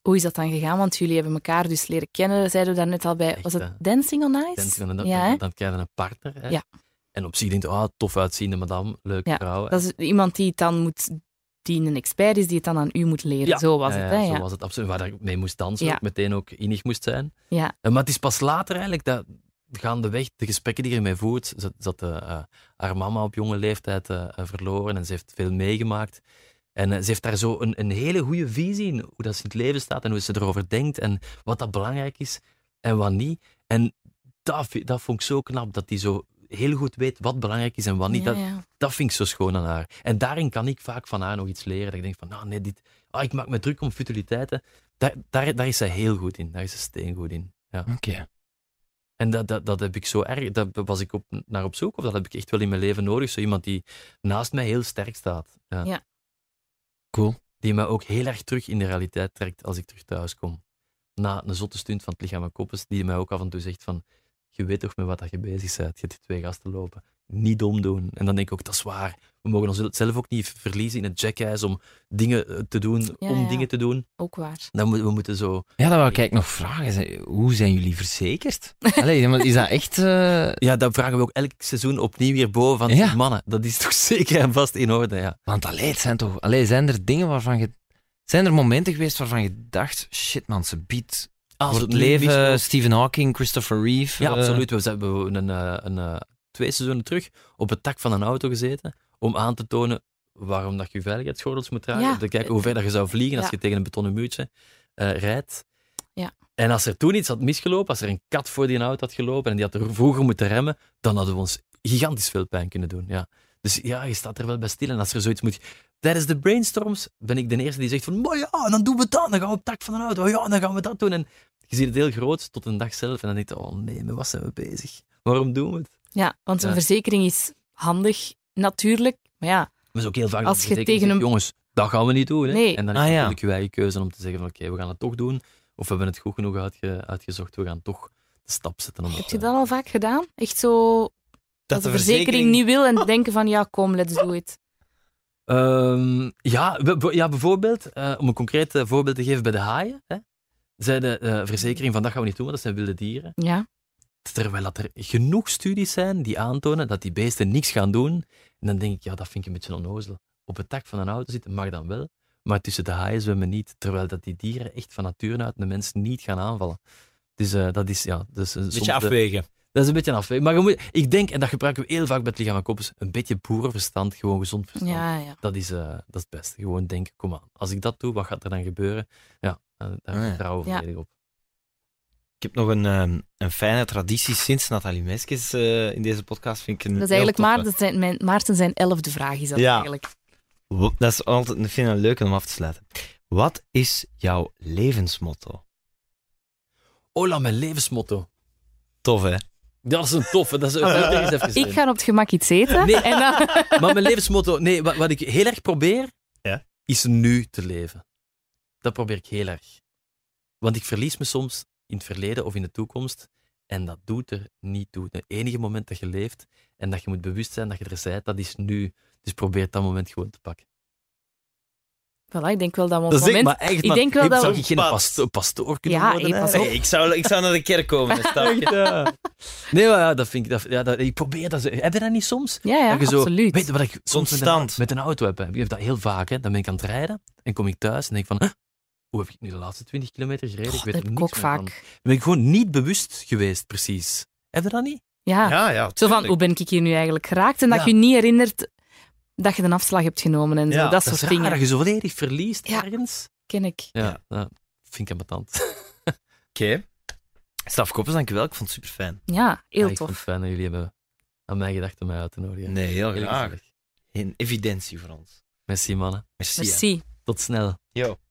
Speaker 5: Hoe is dat dan gegaan? Want jullie hebben elkaar dus leren kennen. Dat zeiden we daar net al bij.
Speaker 2: Echt,
Speaker 5: Was het
Speaker 2: hè?
Speaker 5: Dancing on Ice?
Speaker 2: Dan, dan, dan,
Speaker 5: ja, hè?
Speaker 2: dan, krijg je een partner. Hè?
Speaker 5: Ja.
Speaker 2: En op zich denk je, ah, tof uitziende madame, leuk
Speaker 5: Ja,
Speaker 2: vrouw.
Speaker 5: Dat is iemand die het dan moet, die een expert is, die het dan aan u moet leren. Zo was
Speaker 2: Ja,
Speaker 5: het,
Speaker 2: ja,
Speaker 5: hè?
Speaker 2: Zo
Speaker 5: Ja.
Speaker 2: was het absoluut. Waar ik mee moest dansen,
Speaker 5: Ja.
Speaker 2: ook meteen ook innig moest zijn.
Speaker 5: Ja.
Speaker 2: Eh, Maar het is pas later eigenlijk dat gaandeweg de gesprekken die je ermee voert, zat, zat eh, eh, haar mama op jonge leeftijd eh, eh, verloren en ze heeft veel meegemaakt. En eh, ze heeft daar zo een, een hele goede visie in, hoe dat ze in het leven staat en hoe ze erover denkt en wat dat belangrijk is en wat niet. En dat, vi- dat vond ik zo knap, dat die zo heel goed weet wat belangrijk is en wat niet.
Speaker 5: Ja,
Speaker 2: Dat,
Speaker 5: ja.
Speaker 2: dat vind ik zo schoon aan haar. En daarin kan ik vaak van haar nog iets leren. Dat ik denk van, nou nee, dit, ah, ik maak me druk om futiliteiten. Daar, daar, daar is zij heel goed in. Daar is ze steengoed in. Ja.
Speaker 4: Oké.
Speaker 2: En dat, dat, dat heb ik zo erg, daar was ik op, naar op zoek. Of dat heb ik echt wel in mijn leven nodig. Zo iemand die naast mij heel sterk staat. Ja.
Speaker 5: Ja.
Speaker 4: Cool.
Speaker 2: Die mij ook heel erg terug in de realiteit trekt als ik terug thuis kom. Na een zotte stunt van het lichaam en koppes, die mij ook af en toe zegt van, je weet toch met wat dat je bezig bent. Je hebt die twee gasten lopen. Niet dom doen. En dan denk ik ook, dat is waar. We mogen ons zelf ook niet verliezen in het jackass om dingen eh, te doen,
Speaker 5: Ja,
Speaker 2: om
Speaker 5: ja.
Speaker 2: dingen te doen.
Speaker 5: Ook waar.
Speaker 2: Dan moeten we moeten zo
Speaker 4: Ja, dat wil ik eigenlijk nog vragen. Zijn- Hoe zijn jullie verzekerd? Allee, maar is dat echt... eh,
Speaker 2: Ja, dat vragen we ook elk seizoen opnieuw weer boven van
Speaker 4: Ja.
Speaker 2: mannen. Dat is toch zeker en vast in orde, ja.
Speaker 4: Want allee, het zijn toch... Allee, zijn er dingen waarvan je... Zijn er momenten geweest waarvan je dacht... Shit, man, ze biedt voor het leven Stephen Hawking, Christopher Reeve...
Speaker 2: Ja,
Speaker 4: eh,
Speaker 2: absoluut. We hebben we hebben een, eh, een, eh, twee seizoenen terug op het dak van een auto gezeten om aan te tonen waarom dat je veiligheidsgordels moet dragen.
Speaker 5: Ja.
Speaker 2: Om te kijken hoe ver dat je zou vliegen als
Speaker 5: Ja.
Speaker 2: je tegen een betonnen muurtje eh, rijdt.
Speaker 5: Ja.
Speaker 2: En als er toen iets had misgelopen, als er een kat voor die auto had gelopen en die had er vroeger moeten remmen, dan hadden we ons gigantisch veel pijn kunnen doen. Ja. Dus ja, je staat er wel bij stil. En als er zoiets moet... Tijdens de brainstorms ben ik de eerste die zegt van, maar ja, dan doen we dat. Dan gaan we op het dak van een auto. Ja, dan gaan we dat doen. En je ziet het heel groot tot een dag zelf. En dan denk je, oh nee, met wat zijn we bezig? Waarom doen we het?
Speaker 5: Ja, want een
Speaker 2: Ja.
Speaker 5: verzekering is handig, natuurlijk. Maar ja,
Speaker 2: Maar is ook heel vaak
Speaker 5: Als
Speaker 2: dat
Speaker 5: je
Speaker 2: betekent,
Speaker 5: tegen
Speaker 2: zeg,
Speaker 5: een-
Speaker 2: Jongens, dat gaan we niet doen. Hè?
Speaker 5: Nee.
Speaker 2: En dan is
Speaker 4: Ah,
Speaker 2: het
Speaker 4: ja.
Speaker 2: natuurlijk je eigen keuze om te zeggen van oké, we gaan het toch doen. Of we hebben het goed genoeg uitge- uitgezocht, we gaan toch de stap zetten. Om
Speaker 5: Heb
Speaker 2: het,
Speaker 5: je
Speaker 2: eh,
Speaker 5: dat al vaak gedaan? Echt zo dat, de verzekering... niet wil en denken van ja, kom, let's do it.
Speaker 2: Ehm, ja, we- we- ja, bijvoorbeeld, eh, om een concreet eh, voorbeeld te geven bij de haaien. Hè, zei de eh, verzekering van dat gaan we niet doen, want dat zijn wilde dieren.
Speaker 5: Ja.
Speaker 2: Terwijl dat er genoeg studies zijn die aantonen dat die beesten niks gaan doen. En dan denk ik, ja, dat vind ik een beetje onnozel. Op het tak van een auto zitten mag dan wel, maar tussen de haaien zwemmen niet. Terwijl dat die dieren echt van nature uit de mens niet gaan aanvallen. Dus eh, dat is, ja... Dus, een
Speaker 4: Beetje afwegen.
Speaker 2: dat is een beetje een afweging. Maar je moet, ik denk, en dat gebruiken we heel vaak bij het lichaam en koppers, een beetje boerenverstand, gewoon gezond verstand.
Speaker 5: Ja, ja.
Speaker 2: Dat is, eh, dat is het beste. Gewoon denken, kom aan. Als ik dat doe, wat gaat er dan gebeuren? Ja, eh, daar
Speaker 4: Ah, ja.
Speaker 2: vertrouwen we
Speaker 5: Ja.
Speaker 2: volledig op.
Speaker 4: Ik heb nog een, ehm, een fijne traditie sinds Nathalie Meskes eh, in deze podcast. Vind ik een
Speaker 5: Dat is
Speaker 4: heel
Speaker 5: eigenlijk
Speaker 4: toffe.
Speaker 5: Maarten dat zijn, mijn, Maarten zijn elfde vraag, is dat
Speaker 4: Ja.
Speaker 5: eigenlijk.
Speaker 4: Wa- Dat is altijd ik vind ik een leuke om af te sluiten. Wat is jouw levensmotto?
Speaker 2: Ola, mijn levensmotto.
Speaker 4: Tof, hè?
Speaker 2: Dat is een toffe. Dat is
Speaker 4: Ah,
Speaker 2: dat moet er eens even zijn.
Speaker 5: Ik ga op het gemak iets eten.
Speaker 2: Nee.
Speaker 5: En dan...
Speaker 2: Maar mijn levensmotto, nee, wat, wat ik heel erg probeer,
Speaker 4: Ja.
Speaker 2: is nu te leven. Dat probeer ik heel erg. Want ik verlies me soms in het verleden of in de toekomst. En dat doet er niet toe. Het enige moment dat je leeft en dat je moet bewust zijn dat je er bent, dat is nu. Dus probeer dat moment gewoon te pakken.
Speaker 5: Voilà, ik denk wel dat we op
Speaker 2: Dat
Speaker 5: het
Speaker 2: is echt,
Speaker 5: moment...
Speaker 2: maar echt,
Speaker 5: ik denk wel dat
Speaker 2: zou
Speaker 5: we-
Speaker 2: ik geen
Speaker 4: Pas.
Speaker 2: pasto- pastoor kunnen
Speaker 5: Ja,
Speaker 2: worden?
Speaker 5: hey,
Speaker 2: hè?
Speaker 5: pas op.
Speaker 4: Hey, ik, zou, ik zou naar de kerk komen. Stap.
Speaker 2: Nee, maar ja, dat vind ik... Dat, ja, dat, ik probeer dat... zo- Heb je dat niet soms?
Speaker 5: Ja, ja,
Speaker 2: dat je zo,
Speaker 5: absoluut.
Speaker 2: Weet je wat ik soms met een,
Speaker 4: Constant.
Speaker 2: met een auto heb? hè? Ik heb dat heel vaak. Hè. Dan ben ik aan het rijden en kom ik thuis en denk van... "Huh, Hoe heb ik nu de laatste 20 kilometer gereden? ik weet
Speaker 5: dat
Speaker 2: er
Speaker 5: heb ik
Speaker 2: niks
Speaker 5: ook
Speaker 2: meer van."
Speaker 5: vaak.
Speaker 2: Dan ben ik gewoon niet bewust geweest, precies. Heb je dat niet?
Speaker 5: Ja.
Speaker 4: Ja, ja.
Speaker 5: Zo van,
Speaker 4: tuurlijk.
Speaker 5: hoe ben ik hier nu eigenlijk geraakt? En dat
Speaker 2: Ja.
Speaker 5: je je niet herinnert dat je een afslag hebt genomen en zo.
Speaker 4: Ja,
Speaker 5: dat,
Speaker 2: Dat is
Speaker 5: soort
Speaker 2: raar,
Speaker 5: dingen
Speaker 2: dat je zo volledig verliest
Speaker 5: Ja.
Speaker 2: ergens.
Speaker 5: ken ik.
Speaker 2: Ja,
Speaker 4: Ja.
Speaker 2: dat vind ik ambetant.
Speaker 4: Oké. Staf Koppers, dankjewel. Ik vond het super fijn.
Speaker 5: Ja,
Speaker 2: Ja,
Speaker 5: heel
Speaker 2: Ah, ik vond het
Speaker 5: tof.
Speaker 2: fijn dat jullie hebben aan mijn gedachten om mij uit te nodigen.
Speaker 4: Nee, heel graag.
Speaker 2: gezellig.
Speaker 4: In evidentie voor ons.
Speaker 2: Merci, mannen.
Speaker 4: Merci. hè.
Speaker 5: Merci.
Speaker 2: Tot snel.
Speaker 4: Yo.